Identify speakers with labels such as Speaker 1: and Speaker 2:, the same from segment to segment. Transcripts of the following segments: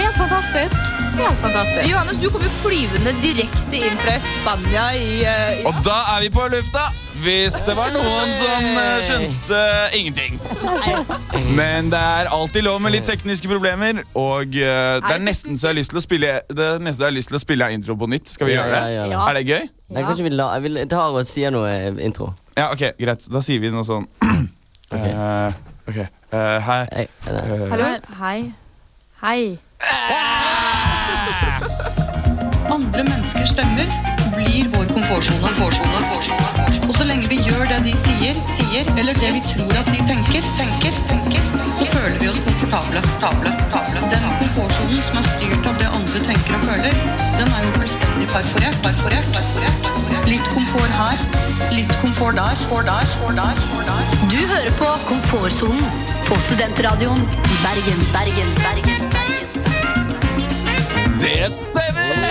Speaker 1: fantastisk. Helt fantastisk.
Speaker 2: Johannes, du kommer flyvende direkte inn fra Spania i eh,
Speaker 3: Og da er vi på lufta! Hvis det var noen som eh, skjønte ingenting. Men det er alltid lov med litt tekniske problemer. Og eh, det er nesten så jeg har lyst til å spille Det er nesten så jeg har lyst til å spille er intro på nytt. Skal vi
Speaker 4: Ja,
Speaker 3: gjøre
Speaker 4: ja,
Speaker 3: det?
Speaker 4: ja.
Speaker 3: Er det gøy?
Speaker 4: Nei, kanskje vi la, jeg vil, tar og sier noe eh, intro.
Speaker 3: Ja, ok, greit. Da sier vi noe sånn Eh, Ok, eh, hei.
Speaker 4: Jeg, nei.
Speaker 3: Eh,
Speaker 1: Hallo? Hei. Hei.
Speaker 5: Andre menneskers stemmer blir vår komfortsone. komfortsone, komfortsone, komfortsone. Og så lenge vi gjør det de sier, sier, eller det vi tror at de tenker, tenker, tenker, så føler vi oss komfortable. Table, table. Den komfortsonen som er styrt av det andre tenker og føler, den er jo fullstendig perforert. perforert, perforert, perforert. Litt komfort her, litt komfort der, for der, for der, for der.
Speaker 6: Du hører på Komfortsonen på Studentradioen i Bergen, Bergen, Bergen. Bergen.
Speaker 3: Det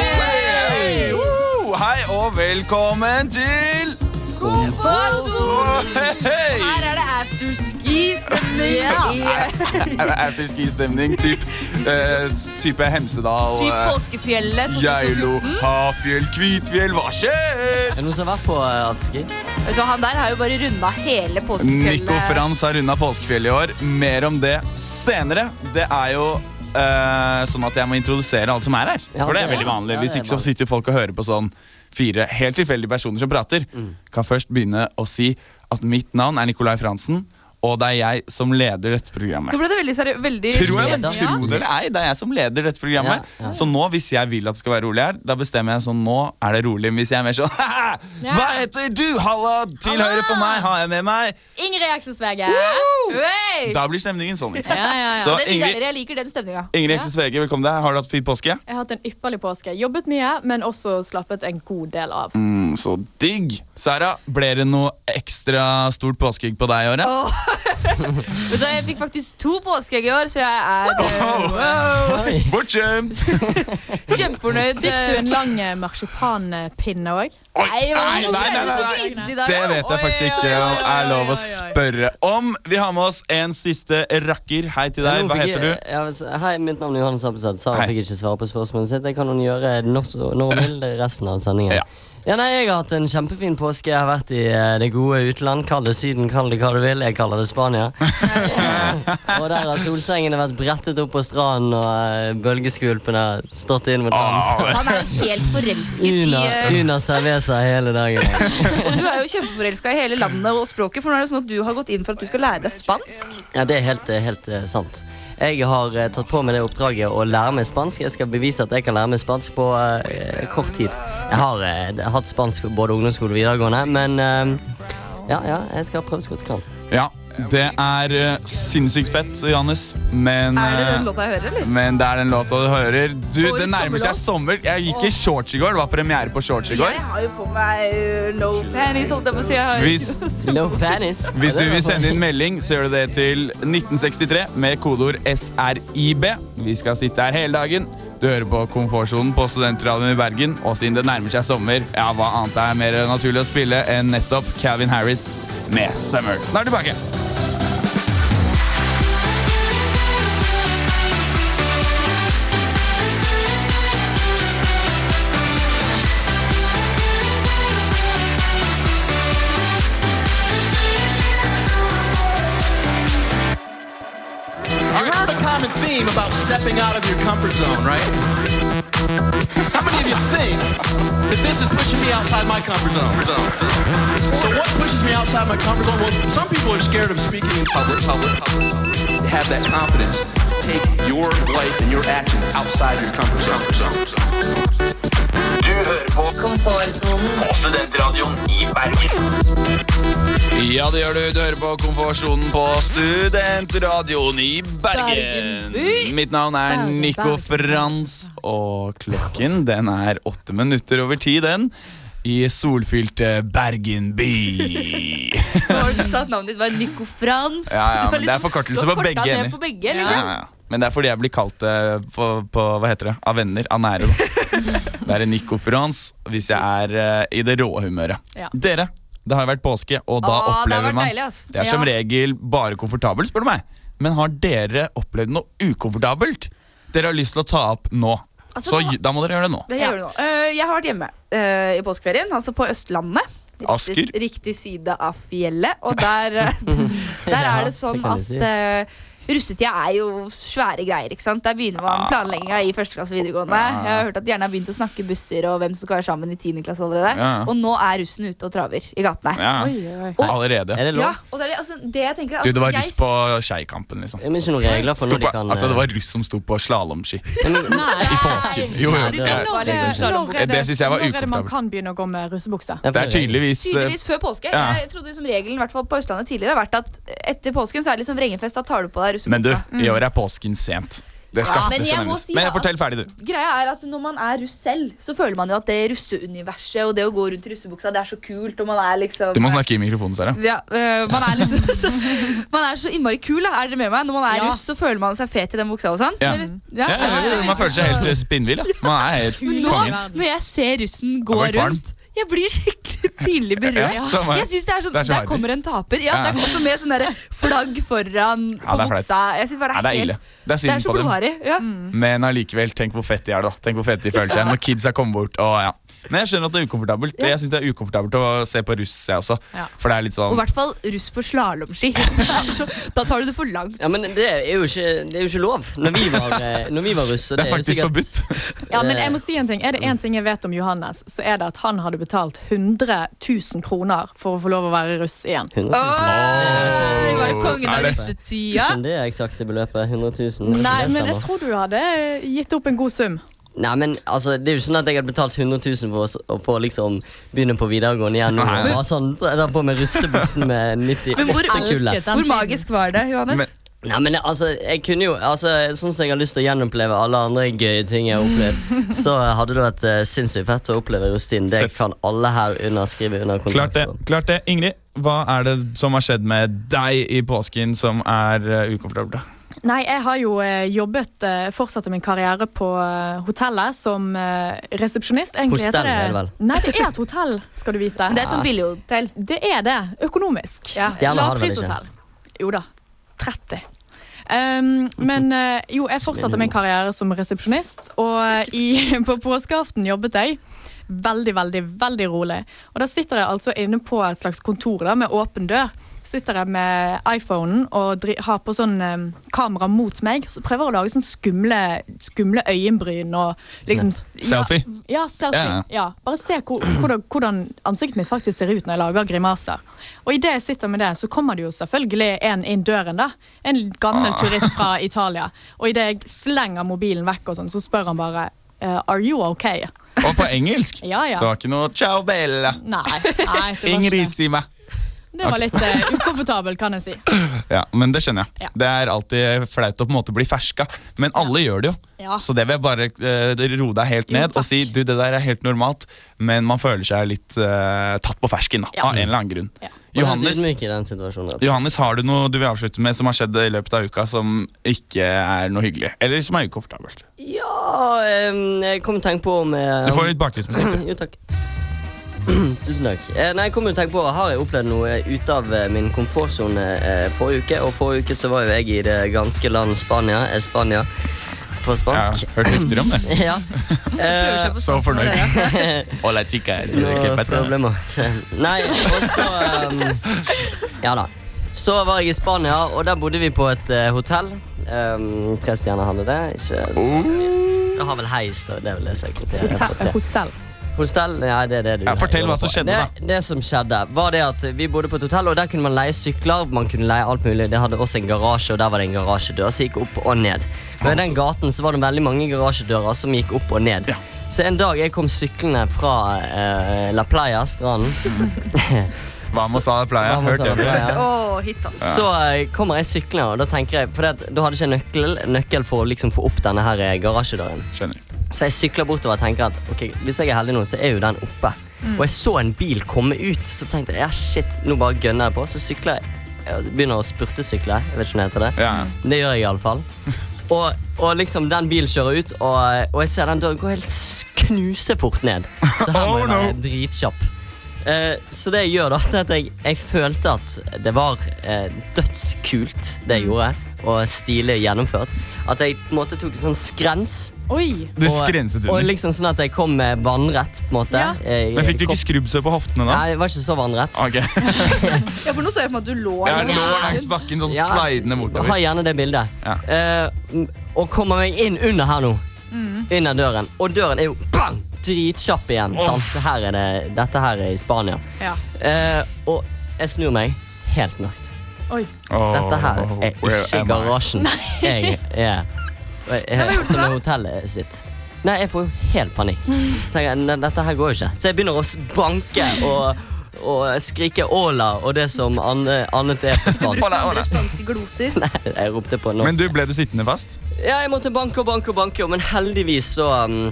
Speaker 3: stemmer! Woo! Hei og velkommen til Åh, hei, hei!
Speaker 2: Her er det afterski-stemning. i- eh,
Speaker 3: Er det afterski-stemning? Typ, eh, type Hemsedal,
Speaker 2: Typ
Speaker 3: eh,
Speaker 2: påskefjellet.
Speaker 3: Geilo,
Speaker 2: 2014.
Speaker 3: Hafjell, Kvitfjell, hva skjer?
Speaker 4: Er det noen som har vært på eh, afterski?
Speaker 2: Vet du hva, han der har jo bare runda hele eh, påskefjellet.
Speaker 3: Nico Frans har runda påskefjellet i år. Mer om det senere. Det er jo eh, sånn at jeg må introdusere alle som er her.
Speaker 4: Ja,
Speaker 3: For det er
Speaker 4: det-
Speaker 3: veldig vanlig.
Speaker 4: ja, det
Speaker 3: Hvis
Speaker 4: er
Speaker 3: ikke så
Speaker 4: vanlig.
Speaker 3: sitter jo folk og hører på sånn fire helt tilfeldige personer som prater.
Speaker 4: Mm.
Speaker 3: Kan først begynne å si at mitt navn er Nicolai Fransen, og det er jeg som leder dette programmet.
Speaker 1: Nå ble det veldig seriøst. Veldig
Speaker 3: Tro jeg, men
Speaker 4: Leder.
Speaker 3: tro det eller ei, det er jeg som leder dette programmet.
Speaker 4: Ja, ja.
Speaker 3: Så nå, hvis jeg vil at det skal være rolig her, da bestemmer jeg sånn nå er det rolig. Men Hvis jeg er mer sånn «Haha, Hva heter du? Halla! Til
Speaker 1: Halla!»
Speaker 3: høyre for meg har jeg med meg
Speaker 1: Ingrid Akselsvege.
Speaker 3: Woo!
Speaker 1: Hey!
Speaker 3: Da blir stemningen sånn. ikke sant?
Speaker 1: Ja, ja, ja.
Speaker 3: Så
Speaker 2: Det er mye
Speaker 3: Ingrid,
Speaker 2: deiligere. Jeg liker den stemninga.
Speaker 3: Ingrid Ekses VG, velkommen deg. Har du hatt fin påske?
Speaker 1: Jeg har hatt en ypperlig påske. Jobbet mye, men også slappet en god del av.
Speaker 3: Mm, så digg. Sara, ble det noe ekstra stort påskeegg på deg i året?
Speaker 2: Vet du, hva, Jeg fikk faktisk to påskeegg i år, så jeg er eh, wow,
Speaker 4: Oi.
Speaker 3: Bortskjemt!
Speaker 2: kjempefornøyd.
Speaker 1: Fikk du en lang eh, marsipanpinne òg?
Speaker 3: Oi,
Speaker 2: Nei, nei,
Speaker 3: nei, nei, nei, nei.
Speaker 2: nei.
Speaker 3: Det vet jeg
Speaker 1: Oi,
Speaker 3: faktisk
Speaker 1: oi,
Speaker 3: ikke
Speaker 1: oi,
Speaker 3: om er lov å
Speaker 1: oi, oi, oi.
Speaker 3: spørre om. Vi har med oss en siste rakker. Hei til deg.
Speaker 4: Nå
Speaker 3: Hva
Speaker 4: fikk
Speaker 3: heter
Speaker 4: jeg-
Speaker 3: du?
Speaker 4: Ja, s- hei, mitt navn er Johannes Apelseth. Sara
Speaker 3: Hei.
Speaker 4: fikk ikke svare på spørsmålet sitt. Det kan hun gjøre når, så- når hun vil det er resten av sendingen.
Speaker 3: Ja.
Speaker 4: Ja. nei, Jeg har hatt en kjempefin påske. Jeg har vært i eh, det gode utland. Kall det Syden, kall det hva du vil. Jeg kaller det Spania. og der har solsengene vært brettet opp på stranden, og eh, bølgeskvulpene har stått inn med dans.
Speaker 3: Ah,
Speaker 2: Han er jo helt forelsket i
Speaker 4: Una,
Speaker 2: eh,
Speaker 4: una cerveza hele dagen.
Speaker 2: Og du er jo kjempeforelska i hele landet og språket, for nå er det sånn at du har gått inn for at du skal lære deg spansk.
Speaker 4: Ja, det er helt, eh, helt eh, sant. Jeg har eh, tatt på meg det oppdraget å lære meg spansk. Jeg skal bevise at jeg kan lære meg spansk på eh, kort tid. Jeg har eh, hatt spansk på både ungdomsskole og videregående, men eh, ja, ja, jeg skal prøve så godt jeg kan.
Speaker 3: Ja, det er eh, sinnssykt fett, Johannes. Men
Speaker 2: Er det den
Speaker 3: eh,
Speaker 2: låta jeg hører, eller?
Speaker 3: men det er den låta du hører. Du,
Speaker 2: Årets
Speaker 3: Det nærmer seg sommer. Jeg gikk i shorts i går. Det var premiere på shorts i går.
Speaker 2: Jeg har jo på meg uh, no panties, holdt jeg på å si. Jeg har
Speaker 3: Hvis,
Speaker 4: Low panties.
Speaker 3: hvis du vil sende inn melding, så gjør du det til 1963 med kodeord SRIB. Vi skal sitte her hele dagen. Du hører på Komfortsonen på Studentradioen i Bergen. Og siden det nærmer seg sommer, ja, hva annet er mer naturlig å spille enn nettopp Calvin Harris med 'Summer'. Snart tilbake.
Speaker 7: You heard a common theme about stepping out of your comfort zone, right? How many of you think that this is pushing me outside my comfort zone? So what pushes me outside my comfort zone? Well, some people are scared of speaking in public. public, public. public. Have that confidence to take your life and your actions outside your comfort zone. zone, zone.
Speaker 8: Du hører på Komfortsonen på Studentradioen i Bergen.
Speaker 3: Ja, det gjør du. Du hører på Komfortsonen på Studentradioen i
Speaker 2: Bergen
Speaker 3: Bergen.
Speaker 2: by.
Speaker 3: Mitt navn er
Speaker 2: Bergen,
Speaker 3: Nico
Speaker 2: Bergen.
Speaker 3: Frans, og klokken den er åtte minutter over ti, den. I solfylte Bergen by.
Speaker 2: Hva var det du sa at navnet ditt var Nico Frans?
Speaker 3: Ja, ja,
Speaker 2: Du har
Speaker 3: men det er forkortelse
Speaker 2: du har
Speaker 3: på
Speaker 2: kortet
Speaker 3: begge
Speaker 2: ned
Speaker 3: ender.
Speaker 2: På begge
Speaker 3: Ja,
Speaker 2: liksom.
Speaker 3: ja, ja. Men det er fordi jeg blir kalt det på, på Hva heter det? Av venner. Av nære. Da. Det er en Nico Frans hvis jeg er eh, i det rå humøret.
Speaker 1: Ja.
Speaker 3: Dere, det har jo vært påske, og
Speaker 2: Åh,
Speaker 3: da
Speaker 2: det har
Speaker 3: opplever
Speaker 2: vært
Speaker 3: man
Speaker 2: deilig, ass.
Speaker 3: Det er som
Speaker 1: Ja.
Speaker 3: regel bare komfortabelt, spør du meg. Men har dere opplevd noe ukomfortabelt? dere har lyst til å ta opp nå.
Speaker 2: Altså,
Speaker 3: Så
Speaker 2: nå-
Speaker 3: gi- da må dere gjøre det nå.
Speaker 2: Det gjør du nå. Eh, jeg har vært hjemme eh, i påskeferien, altså på Østlandet. Riktig,
Speaker 3: Asker.
Speaker 2: riktig side av fjellet. Og der, eh, der
Speaker 4: Ja,
Speaker 2: er det sånn
Speaker 4: det kan du
Speaker 2: at
Speaker 4: si.
Speaker 2: eh, russetida er jo svære greier. ikke sant? Der begynner man
Speaker 3: Ah.
Speaker 2: planlegginga i første klasse videregående. Jeg har hørt at de gjerne har begynt å snakke busser og hvem som skal være sammen i tiende klasse allerede.
Speaker 3: Ja.
Speaker 2: Og nå er russen ute og traver i gatene.
Speaker 3: Ja.
Speaker 8: Oi, oi.
Speaker 3: Allerede.
Speaker 4: Er det lov?
Speaker 2: Ja, og det, er, det- altså, det jeg tenker er at
Speaker 3: Du, det var
Speaker 2: jeg
Speaker 3: russ på Skeikampen, liksom.
Speaker 4: Men ikke noen regler for
Speaker 3: Sto
Speaker 4: når de
Speaker 3: på,
Speaker 4: kan
Speaker 2: eh,
Speaker 4: eh,
Speaker 3: altså, det var russ som sto på slalåmski i påsken. Jo, jo.
Speaker 4: det var-
Speaker 3: Det
Speaker 8: Når, er- når, er
Speaker 3: Det synes jeg var
Speaker 8: når er det man
Speaker 3: ukomfortabelt.
Speaker 8: kan begynne å gå med russebukse?
Speaker 3: er tydeligvis eh,
Speaker 2: Tydeligvis før påske.
Speaker 3: Ja.
Speaker 2: Jeg trodde liksom regelen i hvert fall på Østlandet tidligere har vært at etter påsken så er det liksom vrengefest. Da tar du på deg russebuksa.
Speaker 3: Men du, i år er påsken sent. Det skal
Speaker 2: Ja, men
Speaker 3: faktisk
Speaker 2: jeg må
Speaker 3: nevnes.
Speaker 2: si
Speaker 3: Men
Speaker 2: at-
Speaker 3: fortell ferdig, du.
Speaker 2: Greia er at Når man er russ selv, så føler man jo at det russeuniverset og det å gå rundt i russebuksa, det er så kult. og man er liksom...
Speaker 3: Du må snakke i mikrofonen, Sara.
Speaker 2: ja, øh, man, er liksom, så, man er så innmari kul, da. er dere med meg? Når man er
Speaker 8: Ja.
Speaker 2: russ, så føler man seg fet i den buksa. og sånn
Speaker 3: Ja.
Speaker 2: Eller?
Speaker 3: Ja,
Speaker 2: Ja.
Speaker 3: ja, ja, man føler seg helt eh, spinnvill. Ja. Man er helt
Speaker 2: Men nå,
Speaker 3: kongen.
Speaker 2: når jeg ser russen gå
Speaker 3: Jeg blir kvalm.
Speaker 2: rundt jeg blir skikkelig pinlig berørt.
Speaker 3: Ja, sånn er det.
Speaker 2: Jeg synes det er sånn,
Speaker 3: Det er så
Speaker 2: Der
Speaker 3: harry.
Speaker 2: kommer en taper. Ja,
Speaker 3: Ja.
Speaker 2: Det er også med sånn derre flagg foran på
Speaker 3: det er flaut.
Speaker 2: buksa. Jeg synes bare
Speaker 3: Nei, det er
Speaker 2: helt-
Speaker 3: ille. Det er
Speaker 2: Det er
Speaker 3: synd
Speaker 2: så
Speaker 3: på dem.
Speaker 2: blodharry. Ja.
Speaker 3: Men allikevel, tenk hvor fett de er, da. Tenk hvor fett de føler seg når kidsa kommer bort. Og, ja. Men jeg skjønner at det er ukomfortabelt. Jeg synes det er ukomfortabelt å se på russ, jeg også.
Speaker 8: Ja.
Speaker 3: For det er litt
Speaker 2: Og i
Speaker 3: sånn
Speaker 2: hvert fall russ på slalåmski. da tar du det for langt.
Speaker 4: Ja, men det er jo ikke, det er jo ikke lov når vi var, eh, når vi var russ. og
Speaker 3: Det er
Speaker 4: jo
Speaker 3: faktisk
Speaker 4: sikkert-
Speaker 3: forbudt.
Speaker 8: Ja, men
Speaker 3: Eh.
Speaker 8: jeg må si en ting. Er det
Speaker 3: Mm.
Speaker 8: én ting jeg vet om Johannes, så er det at han hadde betalt 100 000 kroner for å få lov å være russ igjen.
Speaker 4: 100 000.
Speaker 2: Åh, var det kongen
Speaker 3: sånn- Er
Speaker 2: av
Speaker 3: det-
Speaker 2: russetida?
Speaker 4: Ikke det eksakte beløpet. 100 000.
Speaker 8: Nei,
Speaker 4: det
Speaker 8: men jeg
Speaker 4: stemmer.
Speaker 8: tror du hadde eh, gitt opp en god sum.
Speaker 4: Nei, men altså, Det er jo ikke sånn at jeg hadde betalt 100 000 for å s- å få liksom, begynne på videregående igjen. Og
Speaker 3: Nei.
Speaker 4: bare sånn, ta på meg russebuksen med 90
Speaker 2: Men hvor-
Speaker 4: kullet.
Speaker 2: Hvor magisk var det, Johannes?
Speaker 3: Men-
Speaker 4: Nei, men altså, jeg kunne jo, altså, Sånn som jeg har lyst til å gjenoppleve alle andre gøye ting jeg har opplevd, så hadde det vært eh, sinnssykt fett å oppleve russetiden. Det kan alle her underskrive under
Speaker 3: Klart det.
Speaker 4: kontrakten.
Speaker 3: klart det. Ingrid, hva er det som har skjedd med deg i påsken som er eh, ukomfortabelt? da?
Speaker 8: Nei, jeg har jo eh, jobbet, eh, fortsatte min karriere på eh, hotellet som eh, resepsjonist. Egentlig heter
Speaker 4: Hostell, er det vel?
Speaker 8: Nei, det er et hotell, skal du vite.
Speaker 2: Men Det er et sånt billighotell.
Speaker 8: Det er det, økonomisk.
Speaker 2: Ja.
Speaker 4: Stjerner har det vel ikke?
Speaker 8: Lavprishotell. Jo da. 30. Um, men eh, jo, jeg fortsatte min karriere som resepsjonist, og eh, i, på påskeaften jobbet jeg veldig, veldig, veldig rolig. Og da sitter jeg altså inne på et slags kontor da, med åpen dør. Sitter jeg med iPhonen og dri har på sånn eh, kamera mot meg, så prøver jeg å lage sånn skumle, skumle øyenbryn og liksom
Speaker 4: Sånn
Speaker 3: Selfie?
Speaker 8: ja, selfie.
Speaker 3: Ja, ja.
Speaker 8: Ja, Bare se hvor, hvordan, hvordan ansiktet mitt faktisk ser ut når jeg lager grimaser. Og idet jeg sitter med det, så kommer det jo selvfølgelig en inn døren, da. En
Speaker 3: Ah.
Speaker 8: gammel turist fra Italia. Og idet jeg slenger mobilen vekk, og sånn, så spør han bare eh, Are you okay?
Speaker 3: Og på engelsk!
Speaker 8: Ja, ja.
Speaker 3: Så det var ikke noe 'ciao bella'.
Speaker 8: Nei. nei det var ikke
Speaker 3: Ingrid,
Speaker 8: det.
Speaker 3: si meg.
Speaker 8: Det var litt eh, ukomfortabel, kan jeg si.
Speaker 3: Ja, men det skjønner jeg.
Speaker 8: Ja.
Speaker 3: Det er alltid flaut å på en måte bli ferska, men alle gjør det jo.
Speaker 8: Ja.
Speaker 3: Så det vil jeg bare eh, roe deg helt
Speaker 8: Jo,
Speaker 3: ned og
Speaker 8: takk.
Speaker 3: si du, det der er helt normalt, men man føler seg litt eh, tatt på fersken da,
Speaker 8: Ja.
Speaker 3: av en eller annen grunn.
Speaker 8: Ja.
Speaker 4: Johannes,
Speaker 3: Johannes,
Speaker 4: i den situasjonen. at-
Speaker 3: Johannes, har du noe du vil avslutte med som har skjedd i løpet av uka som ikke er noe hyggelig? Eller som er ukomfortabelt?
Speaker 4: Ja em, Jeg kom til å tenke på om
Speaker 3: Du
Speaker 4: jeg,
Speaker 3: får litt bakgrunnsmusikk.
Speaker 4: Jo, takk. Tusen takk. Eh, Nei, jeg kom jo til å tenke på, Har jeg opplevd noe ut av eh, min komfortsone eh, forrige uke? Og forrige uke så var jo jeg i det ganske land Spania. eh, Spania på
Speaker 3: Ja,
Speaker 4: spansk.
Speaker 3: hørt rykter om det.
Speaker 4: Ja. Eh,
Speaker 3: Så fornøyd. Hola,
Speaker 4: Noe problemer. Nei, og så um, Ja da. Så var jeg i Spania, og der bodde vi på et eh, hotell. Um, tre stjerner hadde det. Ikke så Det har vel heis, da. Det er vel det som er kriteriet Oh. på
Speaker 8: Hotell.
Speaker 4: tre.
Speaker 8: Hostell.
Speaker 4: eh, Hostell? Ja, det er det du
Speaker 3: Ja, fortell hva som skjedde,
Speaker 4: det, Det som skjedde, var det at vi bodde på et hotell, og der kunne man leie sykler. Man kunne leie alt mulig. Det hadde også en garasje, og der var det en garasjedør som gikk opp og ned. Og i den gaten så var det veldig mange garasjedører som gikk opp og ned.
Speaker 3: Ja.
Speaker 4: Så en dag jeg kom syklende fra eh, La Playa, stranden
Speaker 3: Vamos a la playa.
Speaker 4: Vamos
Speaker 3: Hørt
Speaker 4: a la
Speaker 3: det?
Speaker 4: playa.
Speaker 2: Åh, hit, altså.
Speaker 4: Så eh, kommer jeg syklende, og da tenker jeg For det, at da hadde jeg ikke nøkkel, nøkkel for å liksom få opp denne her eh, garasjedøren.
Speaker 3: Skjønner.
Speaker 4: Så jeg sykler bortover og tenker at ok, hvis jeg er heldig nå, så er jo den oppe.
Speaker 3: Mm.
Speaker 4: Og jeg så en bil komme ut, så tenkte jeg ja, shit, nå bare gønner jeg på. Så sykler jeg. jeg begynner å spurtesykle. Jeg vet ikke om det heter det.
Speaker 3: Ja.
Speaker 4: Det gjør jeg iallfall. Og, og liksom den bilen kjører ut, og, og jeg ser den døren gå helt s- knusefort ned. Så her må
Speaker 3: Oh,
Speaker 4: jeg
Speaker 3: no.
Speaker 4: være dritkjapp. Eh, så det
Speaker 3: Mm.
Speaker 4: jeg gjør, da, det er at jeg, jeg følte at det var eh, dødskult, det jeg gjorde. og stilig gjennomført. At jeg på en måte tok en sånn skrens.
Speaker 8: Oi!
Speaker 3: Du
Speaker 4: og-
Speaker 3: skrenset
Speaker 4: Og
Speaker 3: under.
Speaker 4: liksom sånn at jeg kom med vannrett, på en måte.
Speaker 8: Ja.
Speaker 4: Jeg-
Speaker 3: Men fikk du
Speaker 4: kom-
Speaker 3: ikke skrubbsår på hoftene da?
Speaker 4: Nei, jeg var ikke så vannrett.
Speaker 3: Ok.
Speaker 2: Ja, for nå så jeg for meg at du lå
Speaker 3: Jeg
Speaker 2: i
Speaker 3: lå langs bakken sånn
Speaker 4: Ja.
Speaker 3: slidende
Speaker 4: Ha
Speaker 3: bortover.
Speaker 4: gjerne det bildet.
Speaker 3: Ja.
Speaker 4: Eh, og kommer meg inn under her nå. Under døren. Og døren er jo bang! dritkjapp igjen.
Speaker 3: Uff.
Speaker 4: Sant? Her er det, dette her er i Spania.
Speaker 8: Ja.
Speaker 4: Eh, og jeg snur meg. Helt mørkt.
Speaker 8: Oi.
Speaker 3: Åh,
Speaker 4: Dette her er
Speaker 3: where
Speaker 4: ikke
Speaker 3: am I?
Speaker 4: garasjen. Jeg er
Speaker 2: hva gjorde du
Speaker 4: Som er
Speaker 2: da?
Speaker 4: hotellet sitt. Nei, jeg får jo helt panikk. Tenker, jeg, nei, dette her går jo ikke. Så jeg begynner å s- banke og, og skrike 'ola' og det som anne- annet er på spansk.
Speaker 2: brukte andre spanske gloser.
Speaker 4: Nei, jeg ropte på norsk.
Speaker 3: Men du, ble du sittende fast?
Speaker 4: Ja, jeg måtte banke og banke og banke, men heldigvis så um,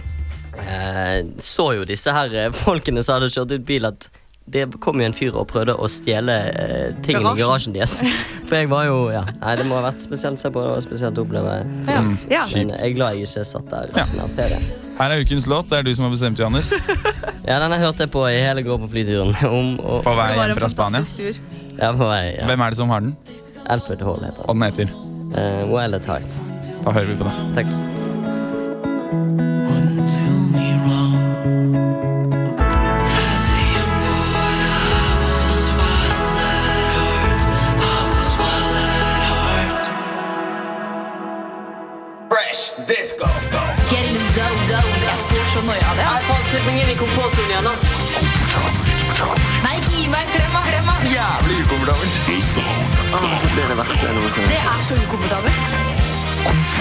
Speaker 4: eh, Så jo disse her eh, folkene som hadde kjørt ut bil, at det kom jo en fyr og prøvde å stjele eh, tingene i garasjen
Speaker 8: Garasjen.
Speaker 4: deres. For jeg var jo ja. Nei, det må ha vært spesielt å se på, det var spesielt å oppleve.
Speaker 8: Ja.
Speaker 3: Mm.
Speaker 2: Ja.
Speaker 4: Men eh, jeg er glad jeg ikke satt der resten av ferien.
Speaker 3: Her er ukens låt. Det er du som har bestemt, Johannes.
Speaker 4: Ja, denne hørte jeg på i hele går på flyturen. Om, og,
Speaker 3: På vei
Speaker 2: Det var
Speaker 3: hjem
Speaker 2: en
Speaker 3: fra Spania.
Speaker 2: fantastisk tur.
Speaker 4: ja, på vei. Ja.
Speaker 3: Hvem er det som har den?
Speaker 4: Alfred Hall heter
Speaker 3: Og
Speaker 4: han.
Speaker 3: den heter?
Speaker 4: Eh, Wild at Heart.
Speaker 3: Da hører vi på det.
Speaker 4: Takk.
Speaker 9: Fresh disco.
Speaker 6: Get in the zone, zone. Jeg får så noia av det. ass. Nei, gi meg en klem, da, klem, da.
Speaker 9: Jævlig ukomfortabelt.
Speaker 6: Det er så ukomfortabelt.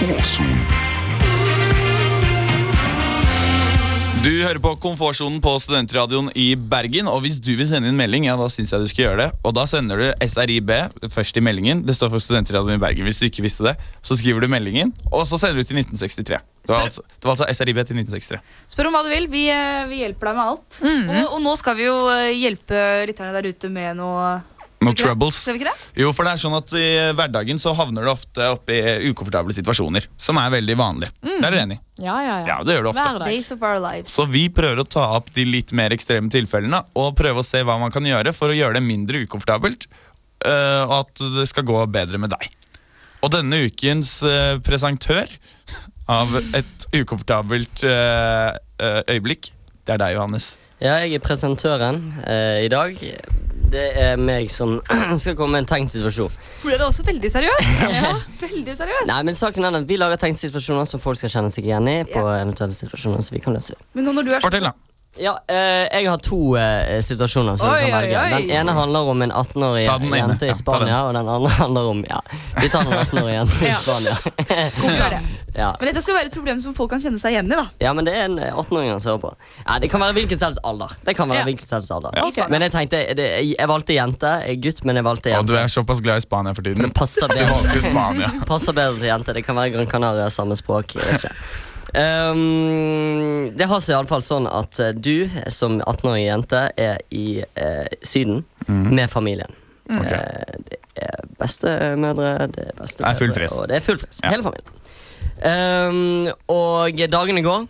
Speaker 3: Du hører på Komfortsonen på Studentradioen i Bergen. Og hvis du vil sende inn melding, ja, da syns jeg du skal gjøre det. Og da sender du SRIB først i meldingen. Det står for Studentradioen i Bergen. Hvis du ikke visste det, så skriver du meldingen, og så sender du til 1963. Det var altså, det var altså SRIB til 1963.
Speaker 2: Spør om hva du vil. Vi, eh, vi hjelper deg med alt. og, og nå skal vi jo eh, hjelpe lytterne der ute med noe
Speaker 3: No
Speaker 2: Skal vi ikke det?
Speaker 3: troubles.
Speaker 2: Skal vi ikke det?
Speaker 3: Jo, for det er sånn at i hverdagen så havner du ofte opp i ukomfortable situasjoner, som er veldig vanlig. Det er dere enig i?
Speaker 8: Ja, ja, ja.
Speaker 3: Ja, det gjør du ofte.
Speaker 8: Hver dag.
Speaker 2: Days of our lives.
Speaker 3: Så vi prøver å ta opp de litt mer ekstreme tilfellene og prøve å se hva man kan gjøre for å gjøre det mindre ukomfortabelt, øh, og at det skal gå bedre med deg. Og denne ukens øh, presentør av et ukomfortabelt øh, øh, øyeblikk, det er deg, Johannes.
Speaker 4: Ja, jeg er presentøren eh, i dag. Det er meg som skal komme med en tenkt situasjon.
Speaker 2: Ble det også veldig seriøst? ja, veldig seriøst.
Speaker 4: Nei, men saken er at Vi lager tenkt situasjoner som folk skal kjenne seg igjen i. på eventuelle situasjoner så vi kan løse det.
Speaker 2: Men nå når du er
Speaker 3: Fortell, da.
Speaker 4: Ja, eh, Jeg har to eh, situasjoner. som
Speaker 2: Oi,
Speaker 4: vi
Speaker 2: oi,
Speaker 4: kan velge.
Speaker 2: oi.
Speaker 4: Den ene handler om en 18-årig
Speaker 3: Ta den ene.
Speaker 4: jente
Speaker 3: Ja, ta
Speaker 4: i Spania. Og den andre handler om ja, Vi tar den 18-årige jente i Spania.
Speaker 2: Hvorfor gjør det?
Speaker 4: ja.
Speaker 2: Men dette skal være et problem som folk kan kjenne seg igjen i, da.
Speaker 4: ja, men det er en eh, 18-åring som hører på. Ja, det kan være hvilken som helst alder. Det kan være
Speaker 8: Ja.
Speaker 4: hvilken som helst alder.
Speaker 8: Ja. Ok.
Speaker 4: Men jeg tenkte, det, jeg, jeg valgte jente. Jeg er gutt, men jeg valgte
Speaker 3: Å, du
Speaker 4: jente.
Speaker 3: er såpass glad i Spania for tiden.
Speaker 4: Det passer
Speaker 3: Du
Speaker 4: bedre.
Speaker 3: valgte Spania.
Speaker 4: Passer bedre til jenter. Det kan være Gran Canaria, samme språk. jeg vet ikke. Um, det har seg iallfall sånn at eh, du som 18-årig jente er i eh, Syden med familien.
Speaker 3: Mhm. Ok.
Speaker 4: Eh, det er bestemødre, det er
Speaker 3: Det
Speaker 4: bestemødre
Speaker 3: er full fres.
Speaker 4: Og det er full fres.
Speaker 3: Ja.
Speaker 4: Hele familien. Um, og dagene går.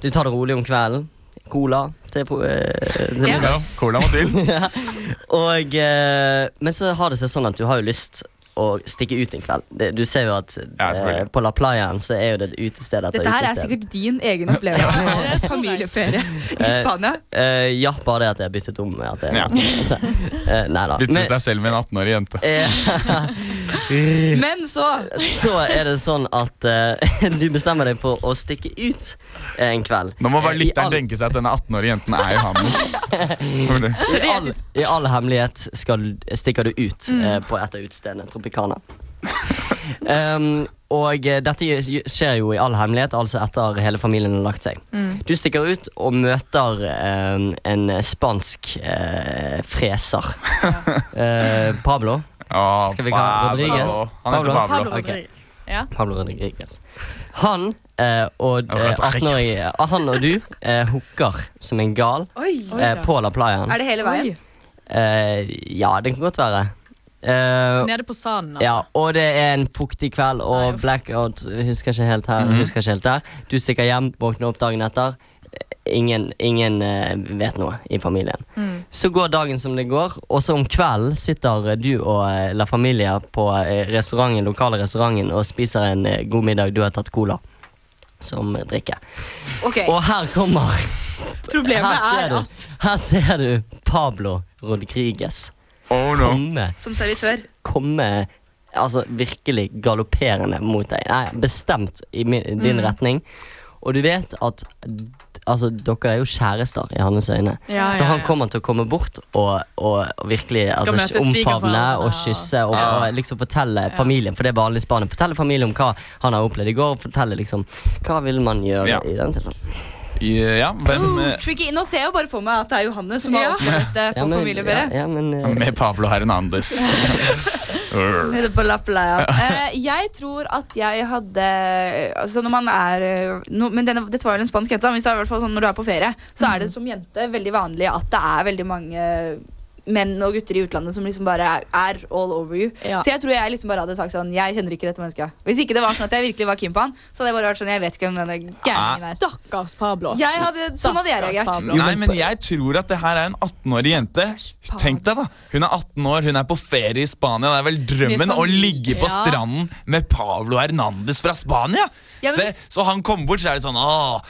Speaker 4: Du tar det rolig om kvelden. Cola til, på- eh, til middag.
Speaker 3: Ja, cola må til.
Speaker 4: Og, eh, men så har det seg sånn at du har jo lyst å stikke ut en kveld. Det, du ser jo at
Speaker 3: Ja,
Speaker 4: eh,
Speaker 3: selvfølgelig.
Speaker 4: på La Playaen så er jo det utested etter
Speaker 2: Dette her er
Speaker 4: utested.
Speaker 2: sikkert din egen opplevelse av familieferie i
Speaker 4: Eh,
Speaker 2: Spania.
Speaker 4: Eh, ja, bare det at jeg har byttet om. At jeg,
Speaker 3: Ja.
Speaker 4: Eh, nei da.
Speaker 3: Byttet
Speaker 4: Men-
Speaker 3: deg selv med en 18-årig jente.
Speaker 2: Men så
Speaker 4: så er det sånn at eh, du bestemmer deg for å stikke ut en kveld.
Speaker 3: Nå må bare
Speaker 4: Eh, i
Speaker 3: lytteren
Speaker 4: all-
Speaker 3: tenke seg at denne 18-årige jenten er Johannes. Kommer du?
Speaker 4: I all, I all hemmelighet skal, stikker du ut
Speaker 2: Mm.
Speaker 4: eh, på et av utestedene, Tropicana. um, og eh, dette gj- skjer jo i all hemmelighet, altså etter hele familien har lagt seg.
Speaker 2: Mm.
Speaker 4: Du stikker ut og møter eh, en spansk eh, freser. Eh, Pablo.
Speaker 3: Å,
Speaker 4: Skal vi kalle han Rodriguez?
Speaker 3: Pablo. Han heter Pablo.
Speaker 4: Pablo?
Speaker 8: Pablo
Speaker 4: Ok.
Speaker 8: Rodriguez. Ja.
Speaker 4: Pablo Rodriguez. Han eh, og
Speaker 3: var
Speaker 4: eh,
Speaker 3: et ark.
Speaker 4: 18-årige Han og du eh, hooker som en gal
Speaker 2: Oi!
Speaker 4: eh, på La Playaen.
Speaker 2: Er det hele veien?
Speaker 8: Oi.
Speaker 4: Eh, ja, det kan godt være. Eh,
Speaker 8: Nede på sanden, altså.
Speaker 4: Ja, og det er en fuktig kveld og
Speaker 8: Nei, uff.
Speaker 4: blackout. Husker ikke helt her, husker ikke helt der. Du stikker hjem, våkner opp dagen etter. ingen, ingen eh, vet noe i familien.
Speaker 2: Mm.
Speaker 4: Så går dagen som det går, og så om kvelden sitter eh, du og eh, La Familia på eh, restauranten, lokale restauranten og spiser en eh, god middag. Du har tatt cola som drikke.
Speaker 2: Ok,
Speaker 4: Og her kommer
Speaker 2: Problemet
Speaker 4: her
Speaker 2: er
Speaker 4: ser,
Speaker 2: at
Speaker 4: du, her ser du Pablo Rodriguez
Speaker 3: Oh
Speaker 4: komme
Speaker 2: Som servitør.
Speaker 4: s- Komme altså virkelig galopperende mot deg. Nei, bestemt i min, din
Speaker 8: Mm.
Speaker 4: retning. Og du vet at d- Altså, dere er jo kjærester i hans øyne,
Speaker 8: Ja,
Speaker 4: så
Speaker 8: ja,
Speaker 4: han
Speaker 8: ja.
Speaker 4: kommer til å komme bort og, og virkelig altså,
Speaker 8: møte
Speaker 4: omfavne
Speaker 8: svigerforeldrene
Speaker 4: og
Speaker 8: og-
Speaker 4: kysse og, og liksom fortelle familien, for det er vanlig i Spania, fortelle familien om hva han har opplevd i går, og fortelle liksom Hva vil man gjøre
Speaker 3: Ja.
Speaker 4: i den situasjonen?
Speaker 3: Ja, hvem eh,
Speaker 2: Tricky, Nå ser jeg jo bare for meg at det er Johannes som har
Speaker 8: Ja.
Speaker 2: opplevd dette på
Speaker 4: Ja, men-
Speaker 2: familieferie.
Speaker 4: ja, ja, men, eh,
Speaker 3: Med Pablo Hernandez. Urr.
Speaker 2: Nede på Lappeleia. Eh, jeg tror at jeg hadde altså når man er, eh, no, men denne, Dette var vel en spansk jente. da, men Hvis det er i hvert fall sånn når du er på ferie, så er det som jente veldig vanlig at det er veldig mange menn og gutter i utlandet som liksom bare er, er all over you.
Speaker 8: Ja.
Speaker 2: Så jeg tror jeg liksom bare hadde sagt sånn Jeg kjenner ikke dette mennesket. Hvis ikke det var sånn at jeg virkelig var keen på han, så hadde jeg bare vært sånn Jeg vet ikke hvem denne gærningen
Speaker 8: Ah,
Speaker 2: er.
Speaker 8: Stakkars Pablo.
Speaker 2: Jeg hadde- sånn hadde jeg
Speaker 8: Stakkars
Speaker 2: reagert.
Speaker 8: Pablo.
Speaker 3: Nei, men jeg tror at det her er en 18-årig jente. Tenk deg da, Hun er 18 år, hun er på ferie i Spania. Det er vel drømmen
Speaker 2: Med
Speaker 3: å
Speaker 2: familie.
Speaker 3: ligge på
Speaker 2: sånn- Ja.
Speaker 3: stranden med Pablo Hernandez fra Spania!
Speaker 2: Ja, men
Speaker 3: det,
Speaker 2: hvis-
Speaker 3: så han kommer bort, så er det sånn Åh,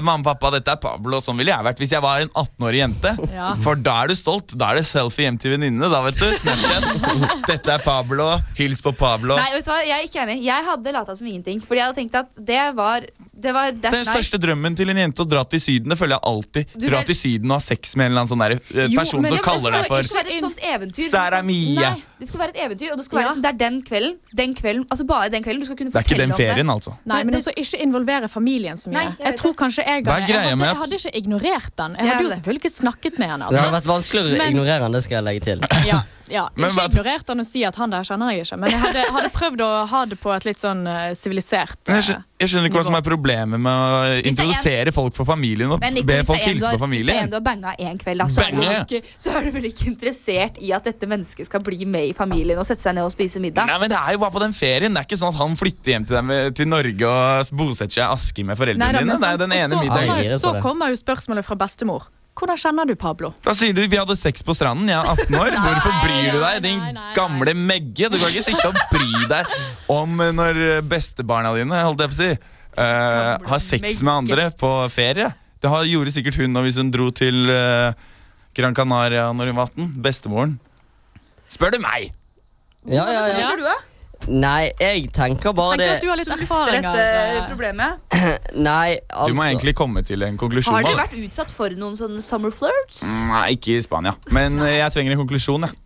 Speaker 3: mamma og pappa, dette er Pablo. Sånn ville jeg vært hvis jeg var en 18-årig jente.
Speaker 8: Ja.
Speaker 3: For da er du stolt. Da er det selfie hjem til venninnene. Da, vet du. Snapchat. Dette er Pablo. Hils på Pablo.
Speaker 2: Nei, vet du hva, jeg er ikke enig. Jeg hadde lata som ingenting. Fordi jeg hadde tenkt at det var Det var
Speaker 3: Den
Speaker 2: that's nice.
Speaker 3: største drømmen til en jente å dra til Syden. Det føler jeg alltid.
Speaker 2: Du,
Speaker 3: Dra
Speaker 2: det-
Speaker 3: til Syden og ha sex med en eller annen sånn der, eh,
Speaker 8: Jo,
Speaker 3: person
Speaker 8: men
Speaker 3: som
Speaker 8: det- men
Speaker 3: kaller
Speaker 8: så
Speaker 3: deg for
Speaker 2: Det skal være et sånt eventyr.
Speaker 3: Sara Mia.
Speaker 2: Nei, det skal være et eventyr, og det skal være
Speaker 8: Ja.
Speaker 2: liksom, det er den kvelden, den kvelden, altså bare den kvelden. Du skal kunne
Speaker 3: Det er
Speaker 2: fortelle
Speaker 3: ikke den
Speaker 2: om det.
Speaker 3: ferien, altså.
Speaker 8: Nei, men
Speaker 2: Det-
Speaker 8: også ikke involvere familien så mye.
Speaker 2: Nei, jeg
Speaker 8: jeg,
Speaker 2: vet
Speaker 8: tror kanskje jeg
Speaker 3: Hva er
Speaker 8: hadde,
Speaker 3: greia
Speaker 8: jeg,
Speaker 3: med
Speaker 8: hadde,
Speaker 3: at-
Speaker 8: jeg hadde ikke ignorert den.
Speaker 2: Jeg
Speaker 8: Jeg hadde jo
Speaker 2: hadde.
Speaker 8: selvfølgelig ikke snakket med henne.
Speaker 4: Det
Speaker 8: Altså.
Speaker 4: hadde vært vanskeligere å
Speaker 8: Men-
Speaker 4: ignorere enn det skal jeg legge til.
Speaker 8: Ja, ja.
Speaker 3: Men
Speaker 8: Ikke
Speaker 3: hva-
Speaker 8: ignorert den og si at han der kjenner jeg ikke. Men jeg hadde, hadde prøvd å ha det på et litt sånn eh, sivilisert
Speaker 3: Men Jeg
Speaker 8: eh,
Speaker 3: skjønner, jeg skjønner ikke hva som er problemet med å
Speaker 2: Hvis det er en-
Speaker 3: introdusere folk for familien og
Speaker 2: Men Nico,
Speaker 3: be
Speaker 2: hvis,
Speaker 3: folk
Speaker 2: det er en du
Speaker 3: hilse på
Speaker 2: har, hvis det er
Speaker 3: familien.
Speaker 2: en du har banga en kveld, da, så, er du
Speaker 3: Banga?
Speaker 2: vel ikke, så er du vel ikke interessert i at dette mennesket skal bli med i familien og sette seg ned og spise middag?
Speaker 3: Nei, men Det er jo bare på den ferien. Det er ikke sånn at han flytter hjem til, dem, til Norge og bosetter seg i Aski med foreldrene
Speaker 8: Neida,
Speaker 3: dine.
Speaker 8: men
Speaker 3: Det er
Speaker 8: sant.
Speaker 3: jo den
Speaker 8: Og
Speaker 3: ene
Speaker 8: så
Speaker 3: middagen.
Speaker 8: kommer-
Speaker 4: Jeg gir det
Speaker 8: Så
Speaker 4: for det.
Speaker 8: kommer jo spørsmålet fra bestemor. Hvordan kjenner du Pablo?
Speaker 3: Da sier du vi hadde sex på stranden, jeg er 18 år. Hvorfor bryr du deg, din
Speaker 8: nei, nei, nei.
Speaker 3: gamle megge? Du kan ikke sitte og bry deg om eh, når bestebarna dine holdt jeg på å si, eh, har sex med andre på ferie. Det har, gjorde sikkert hun nå hvis hun dro til eh, Gran Canaria når hun var 18. Bestemoren. Spør du meg!
Speaker 4: Ja, ja, ja.
Speaker 2: Hva tror du, da?
Speaker 4: Nei, jeg tenker bare
Speaker 8: altså, Tenker at du
Speaker 4: det
Speaker 8: har litt erfaringer.
Speaker 2: Dette
Speaker 8: eh,
Speaker 2: problemet.
Speaker 4: Nei, altså
Speaker 3: Du må egentlig komme til en konklusjon.
Speaker 2: Har
Speaker 3: da.
Speaker 2: dere vært utsatt for noen sånne summer flirts?
Speaker 3: Nei, ikke i Spania. Men eh, jeg trenger en konklusjon. Jeg.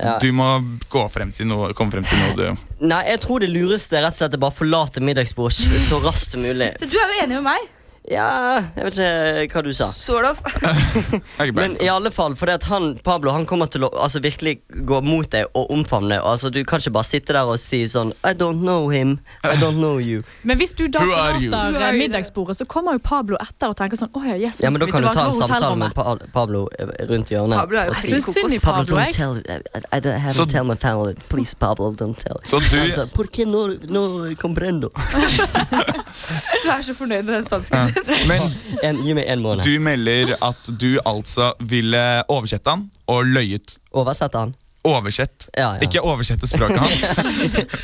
Speaker 4: Ja.
Speaker 3: Du må gå frem til noe, komme frem til noe du
Speaker 4: Nei, jeg tror det lureste er rett og slett å bare forlate middagsbordet s- så raskt som mulig.
Speaker 2: Så Du er jo enig med meg.
Speaker 4: Ja, jeg vet ikke hva du sa.
Speaker 2: Sort of.
Speaker 3: Jeg er ikke
Speaker 4: Men i
Speaker 3: bare-
Speaker 4: alle fall, fordi at han, Pablo han kommer til å altså, virkelig gå mot deg og omfavne deg. Altså, du kan ikke bare sitte der og si sånn I don't know him. I don't know you.
Speaker 8: Men hvis du da
Speaker 3: Who are you?
Speaker 2: Who
Speaker 8: forlater
Speaker 2: are
Speaker 8: eh,
Speaker 2: you?
Speaker 8: middagsbordet, så kommer jo Pablo etter og tenker sånn Å ja, yes,
Speaker 4: Ja, men
Speaker 8: nå
Speaker 4: Da
Speaker 8: skal
Speaker 4: kan du
Speaker 8: vi
Speaker 4: ta en
Speaker 8: tilbake på
Speaker 4: samtale med
Speaker 8: hotellrommet.
Speaker 4: pa Pablo eh, rundt hjørnet.
Speaker 2: Pablo er jo
Speaker 4: og si,
Speaker 8: Jeg synes synd i
Speaker 4: Pablo,
Speaker 8: Pablo,
Speaker 4: don't
Speaker 8: jeg.
Speaker 4: tell I, I don't have
Speaker 3: Så-
Speaker 4: to tell my family. Please, Pablo, don't tell.
Speaker 3: Så du-
Speaker 4: Altså, Por qué no, no comprendo?
Speaker 2: Du er så fornøyd med den spansken.
Speaker 3: Men
Speaker 4: En, gi meg en måned.
Speaker 3: du melder at du altså ville oversette han og løyet.
Speaker 4: Oversett han.
Speaker 3: Oversett.
Speaker 4: Ja, ja.
Speaker 3: Ikke oversette språket hans.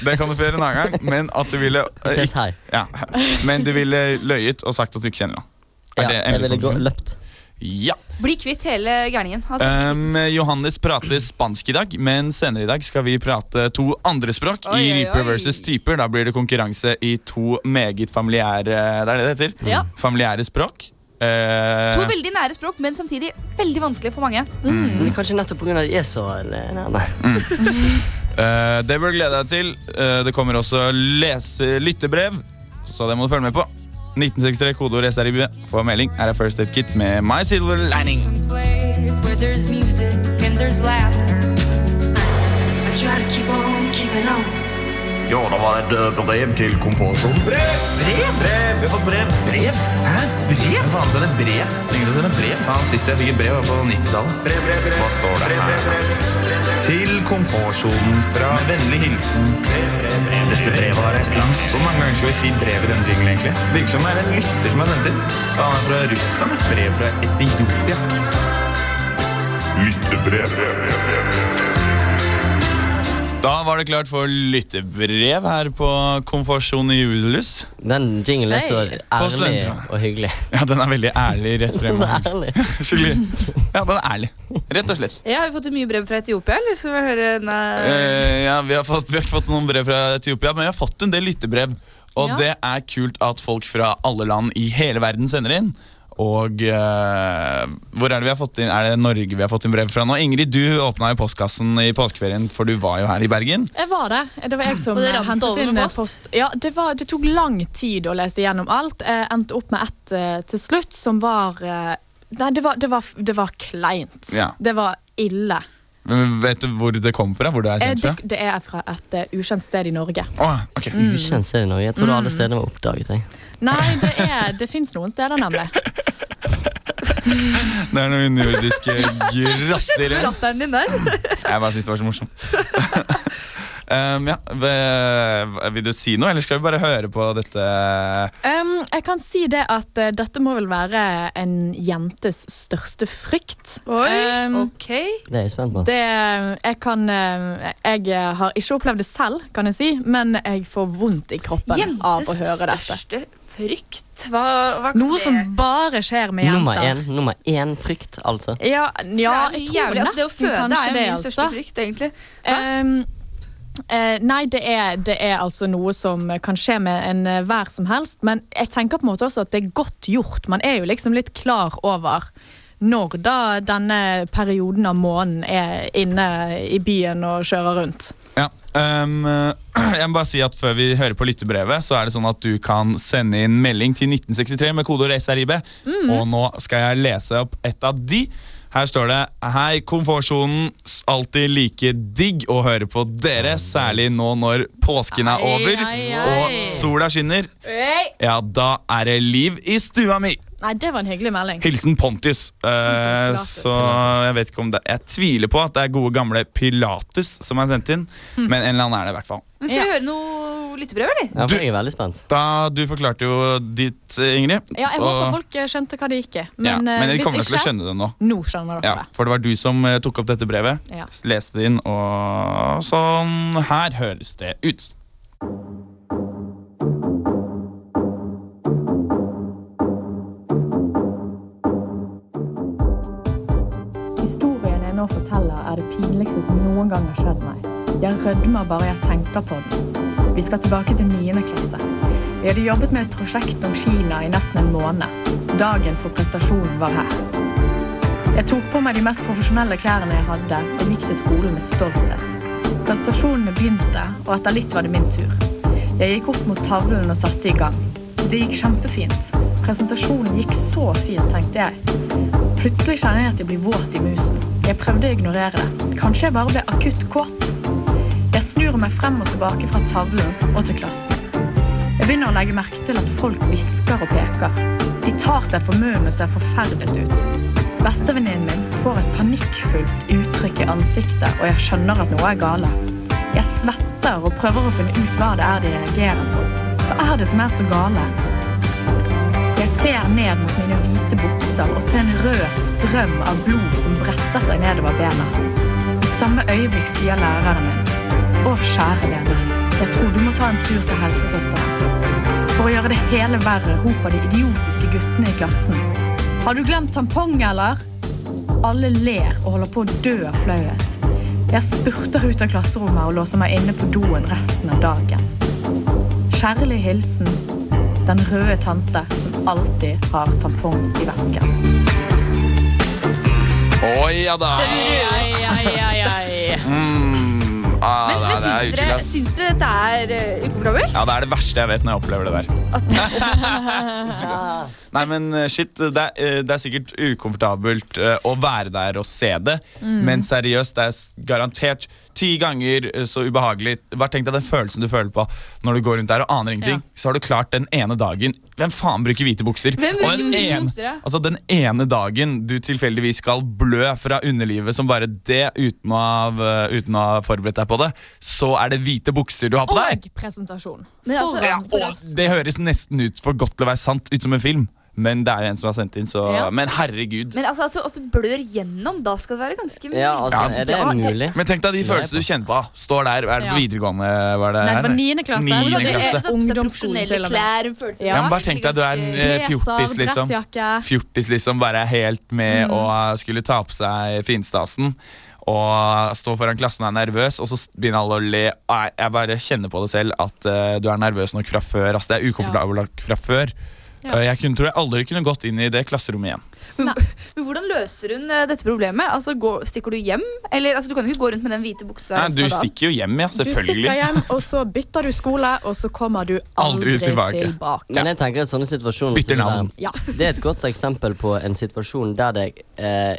Speaker 3: Det kan du få gjøre en annen gang. Men at du ville eh,
Speaker 4: Ses her.
Speaker 3: Ja. Men du ville løyet og sagt at du ikke kjenner han. Er
Speaker 4: Ja,
Speaker 3: det
Speaker 4: jeg
Speaker 3: endelig
Speaker 4: ville gå,
Speaker 3: konklusjon?
Speaker 4: løpt.
Speaker 3: Ja.
Speaker 2: Bli kvitt hele gærningen. Altså.
Speaker 3: Um, Johannes prater spansk i dag, men senere i dag skal vi prate to andre språk
Speaker 2: Oi,
Speaker 3: i
Speaker 2: oi,
Speaker 3: Reaper
Speaker 2: oi.
Speaker 3: versus typer. Da blir det konkurranse i to meget familiære Det er det det heter?
Speaker 2: Ja.
Speaker 3: Familiære språk. Eh,
Speaker 2: To veldig nære språk, men samtidig veldig vanskelig for mange.
Speaker 4: Men kanskje nettopp pga. de er så eller, nærme.
Speaker 3: Mm. eh, det bør du glede deg til. Eh, det kommer også lese lyttebrev, så det må du følge med på. 1963 kodeord SRIB for melding. Her er First Aid Kit med My Silver Lining.
Speaker 9: Jo, da var det eh, et brev til komfortsonen. Brev! Brev! Brev! Brev! Brev! Hæ? Brev? Hva faen er sende brev? Trenger du å sende brev? Faen, sist jeg fikk et brev var på 90-tallet. Hva står det her? Til komfortsonen fra Med vennlig hilsen. Dette brevet har reist langt. Hvor mange ganger skal vi si brev i denne jinglen, egentlig? Virker som det er en lytter som har sendt inn. Han er fra Russland. et Brev fra Etiopia.
Speaker 3: Da var det klart for lyttebrev her på Komfortsonen i Julius.
Speaker 4: Den jinglen er så
Speaker 8: Hei.
Speaker 4: ærlig
Speaker 3: Poststudenter, da.
Speaker 4: og hyggelig.
Speaker 3: Ja, den er veldig ærlig rett frem.
Speaker 4: Så ærlig.
Speaker 3: Skikkelig. Ja, den er ærlig. Rett og slett.
Speaker 2: Ja, Har vi fått mye brev fra Etiopia? eller så vil jeg høre en... eh,
Speaker 3: Eh, ja, vi, har fått, vi har ikke fått noen brev fra Etiopia, men vi har fått en del lyttebrev. Og
Speaker 8: Ja.
Speaker 3: det er kult at folk fra alle land i hele verden sender inn. Og eh, hvor er det vi har fått inn? Er det Norge vi har fått inn brev fra nå? Ingrid, du åpna jo postkassen i påskeferien, for du var jo her i Bergen.
Speaker 8: Jeg var det. Det var jeg som
Speaker 2: Og det
Speaker 8: eh,
Speaker 2: rant
Speaker 8: hentet
Speaker 2: over
Speaker 8: inn
Speaker 2: med
Speaker 8: eh,
Speaker 2: post?
Speaker 8: post. Ja, det, var, det tok lang tid å lese gjennom alt. Jeg endte opp med ett eh, til slutt, som var eh, Nei, det var, det var, det var kleint.
Speaker 3: Ja.
Speaker 8: Det var ille.
Speaker 3: Men vet du hvor det kom fra? Hvor det er
Speaker 8: Eh,
Speaker 3: sendt
Speaker 8: Det,
Speaker 3: fra?
Speaker 8: det er fra et eh, ukjent sted i Norge.
Speaker 3: Åh, ok.
Speaker 8: Mm.
Speaker 4: Ukjent serie Norge. Jeg trodde alle stedene var oppdaget. Jeg.
Speaker 8: Nei, det, er- det fins noen steder, nemlig.
Speaker 3: Det er noen nordiske grotter.
Speaker 2: med latteren din der?
Speaker 3: Jeg bare synes det var så morsomt. um, ja, v- vil du si noe, eller skal vi bare høre på dette?
Speaker 8: Um, jeg kan si det at eh, dette må vel være en jentes største frykt.
Speaker 2: Oi,
Speaker 8: Um,
Speaker 2: ok.
Speaker 4: Det er jeg spent på.
Speaker 8: det, jeg kan eh, Jeg har ikke opplevd det selv, kan jeg si, men jeg får vondt i kroppen av å høre dette.
Speaker 2: største frykt. Hva, hva kan
Speaker 8: Noe
Speaker 2: det-
Speaker 8: som bare skjer med
Speaker 4: Nummer
Speaker 8: jenter.
Speaker 4: én, nummer én frykt, altså.
Speaker 8: Ja, ja,
Speaker 2: det er
Speaker 8: jeg
Speaker 2: jo
Speaker 8: tror
Speaker 2: jævlig. Altså, det å
Speaker 8: nesten
Speaker 2: føde er
Speaker 8: kanskje
Speaker 2: jo
Speaker 8: det,
Speaker 2: min største
Speaker 8: altså.
Speaker 2: frykt, egentlig.
Speaker 8: Um, eh, nei, det er, det er altså noe som kan skje med en eh, hver som helst. Men jeg tenker på en måte også at det er godt gjort. Man er jo liksom litt klar over når da denne perioden av måneden er inne i byen og kjører rundt.
Speaker 3: Ja, um, jeg må bare si at Før vi hører på lyttebrevet, så er det sånn at du kan sende inn melding til 1963 med kodeord SRIB. Og nå skal jeg lese opp et av de. Her står det Hei, komfortsonen. s- Alltid like digg å høre på dere, særlig nå når påsken er over
Speaker 8: Ei, ei, ei.
Speaker 3: og sola skinner. Ja, da er det liv i stua mi!
Speaker 8: Nei, det var en hyggelig melding.
Speaker 3: Hilsen Pontius. Eh,
Speaker 8: Pilatus.
Speaker 3: så jeg vet ikke om det Jeg tviler på at det er gode gamle Pilatus som er sendt inn,
Speaker 8: Mm.
Speaker 3: men en eller annen er det i hvert fall.
Speaker 2: Men skal
Speaker 8: Ja.
Speaker 2: vi høre noe lyttebrev, eller?
Speaker 4: Ja,
Speaker 3: Du-
Speaker 4: for jeg er veldig spent.
Speaker 3: Da, du forklarte jo ditt, eh, Ingrid.
Speaker 8: Ja, jeg
Speaker 3: og-
Speaker 8: håper folk eh, skjønte hva det gikk i.
Speaker 3: ja,
Speaker 8: Men, eh,
Speaker 3: men de kommer
Speaker 8: hvis
Speaker 3: til å
Speaker 8: ikke,
Speaker 3: skjønne det nå.
Speaker 8: nå skjønner dere
Speaker 3: Ja, for det var du som eh, tok opp dette brevet,
Speaker 8: Ja.
Speaker 3: s- leste det inn, og sånn her høres det ut.
Speaker 8: Historien jeg nå forteller, er det pinligste som noen gang har skjedd meg. Jeg rødmer bare jeg tenker på den. Vi skal tilbake til 9. klasse. Vi hadde jobbet med et prosjekt om Kina i nesten en måned. Dagen for prestasjonen var her. Jeg tok på meg de mest profesjonelle klærne jeg hadde, og gikk til skolen med stolthet. Prestasjonene begynte, og etter litt var det min tur. Jeg gikk opp mot tavlen og satte i gang. Det gikk kjempefint. Presentasjonen gikk så fint, tenkte jeg. Plutselig kjenner jeg at jeg blir våt i musen. Jeg prøvde å ignorere det. Kanskje jeg bare ble akutt kåt? Jeg snur meg frem og tilbake fra tavlen og til klassen. Jeg begynner å legge merke til at folk hvisker og peker. De tar seg for munnen og ser forferdet ut. Bestevenninnen min får et panikkfullt uttrykk i ansiktet, og jeg skjønner at noe er gale. Jeg svetter og prøver å finne ut hva det er de reagerer på. Hva er det som er så gale? Jeg ser ned mot mine hvite bukser og ser en rød strøm av blod som bretter seg nedover bena. I samme øyeblikk sier læreren min Å, kjære vene, jeg tror du må ta en tur til helsesøsteren. For å gjøre det hele verre roper de idiotiske guttene i klassen. Har du glemt tampong, eller? Alle ler og holder på å dø av flauhet. Jeg spurter ut av klasserommet og låser meg inne på doen resten av dagen. Kjærlig hilsen den røde tante som alltid har tampong i vesken.
Speaker 3: Å ja da! Mm, ah,
Speaker 2: Men,
Speaker 3: det,
Speaker 2: men
Speaker 3: er-
Speaker 2: syns,
Speaker 3: det
Speaker 2: dere,
Speaker 3: er uklass.
Speaker 2: syns dere dette er eh, ukomfortabelt?
Speaker 3: Ja, det er det verste jeg vet når jeg opplever det der. Nei, men eh, shit, det er, eh, det er sikkert
Speaker 10: Mm.
Speaker 3: ukomfortabelt eh, å være der og se det, men seriøst, det er s- garantert ti ganger eh, så ubehagelig. Bare tenk deg den følelsen du føler på når du går rundt der og aner ingenting. Så har du klart den ene dagen Hvem faen bruker hvite bukser?
Speaker 10: Hvem
Speaker 3: og den
Speaker 10: bruker hvite
Speaker 3: ene-
Speaker 10: bukser, ja?
Speaker 3: Altså Den ene dagen du tilfeldigvis skal blø fra underlivet som bare det, uten å, ha- uten å ha forberedt deg på det, så er det hvite bukser du har
Speaker 10: Oh
Speaker 3: på deg!
Speaker 8: Og presentasjon.
Speaker 2: Men altså,
Speaker 3: Ja, og det høres nesten ut for godt til å være sant, ut som en film. Men det er jo en som har sendt inn, så
Speaker 8: Ja.
Speaker 3: Men herregud.
Speaker 2: men altså at, du, at du blør gjennom, da skal det være ganske mye.
Speaker 4: Ja, altså,
Speaker 3: Ja.
Speaker 4: er det mulig?
Speaker 3: Men tenk deg de følelsene du kjente på. da. Står der, er det på
Speaker 8: Ja.
Speaker 3: videregående? Var det,
Speaker 8: Nei, det var
Speaker 3: her?
Speaker 8: niende klasse.
Speaker 3: Niende
Speaker 2: Hvordan du
Speaker 3: klasse.
Speaker 10: sånn
Speaker 2: er- tatt på seg
Speaker 8: Ungdomsskolen,
Speaker 2: profesjonelle
Speaker 8: til og med.
Speaker 2: klær, følelser.
Speaker 3: Ja, men bare tenk deg at du er en eh, fjortis,
Speaker 8: Blazer,
Speaker 3: liksom.
Speaker 8: dressjakke.
Speaker 3: Fjortis liksom bare helt
Speaker 8: Mm.
Speaker 3: med og eh, skulle ta på seg finstasen. Og stå foran klassen og er nervøs, og så s- begynner alle å le. Nei, Jeg bare kjenner på det selv at eh, du er nervøs nok fra før. Altså, det er ukomfortabel nok fra før.
Speaker 8: Ja.
Speaker 3: Eh, Jeg kunne, tror jeg aldri kunne gått inn i det klasserommet igjen.
Speaker 2: Men, men hvordan løser hun eh, dette problemet? Altså, går, stikker du hjem? Eller, altså, du kan jo ikke gå rundt med den hvite buksa.
Speaker 3: Nei,
Speaker 2: resten
Speaker 3: du
Speaker 2: av dagen.
Speaker 3: stikker jo hjem, ja.
Speaker 8: sånn Du stikker
Speaker 3: Selvfølgelig.
Speaker 8: hjem, og så bytter du skole, og så kommer du aldri,
Speaker 3: Aldri tilbake.
Speaker 8: tilbake.
Speaker 4: Men jeg tenker at sånne situasjoner
Speaker 3: Bytter
Speaker 4: som det der-
Speaker 3: navn.
Speaker 8: Ja.
Speaker 4: Det er et godt eksempel på en situasjon der det eh,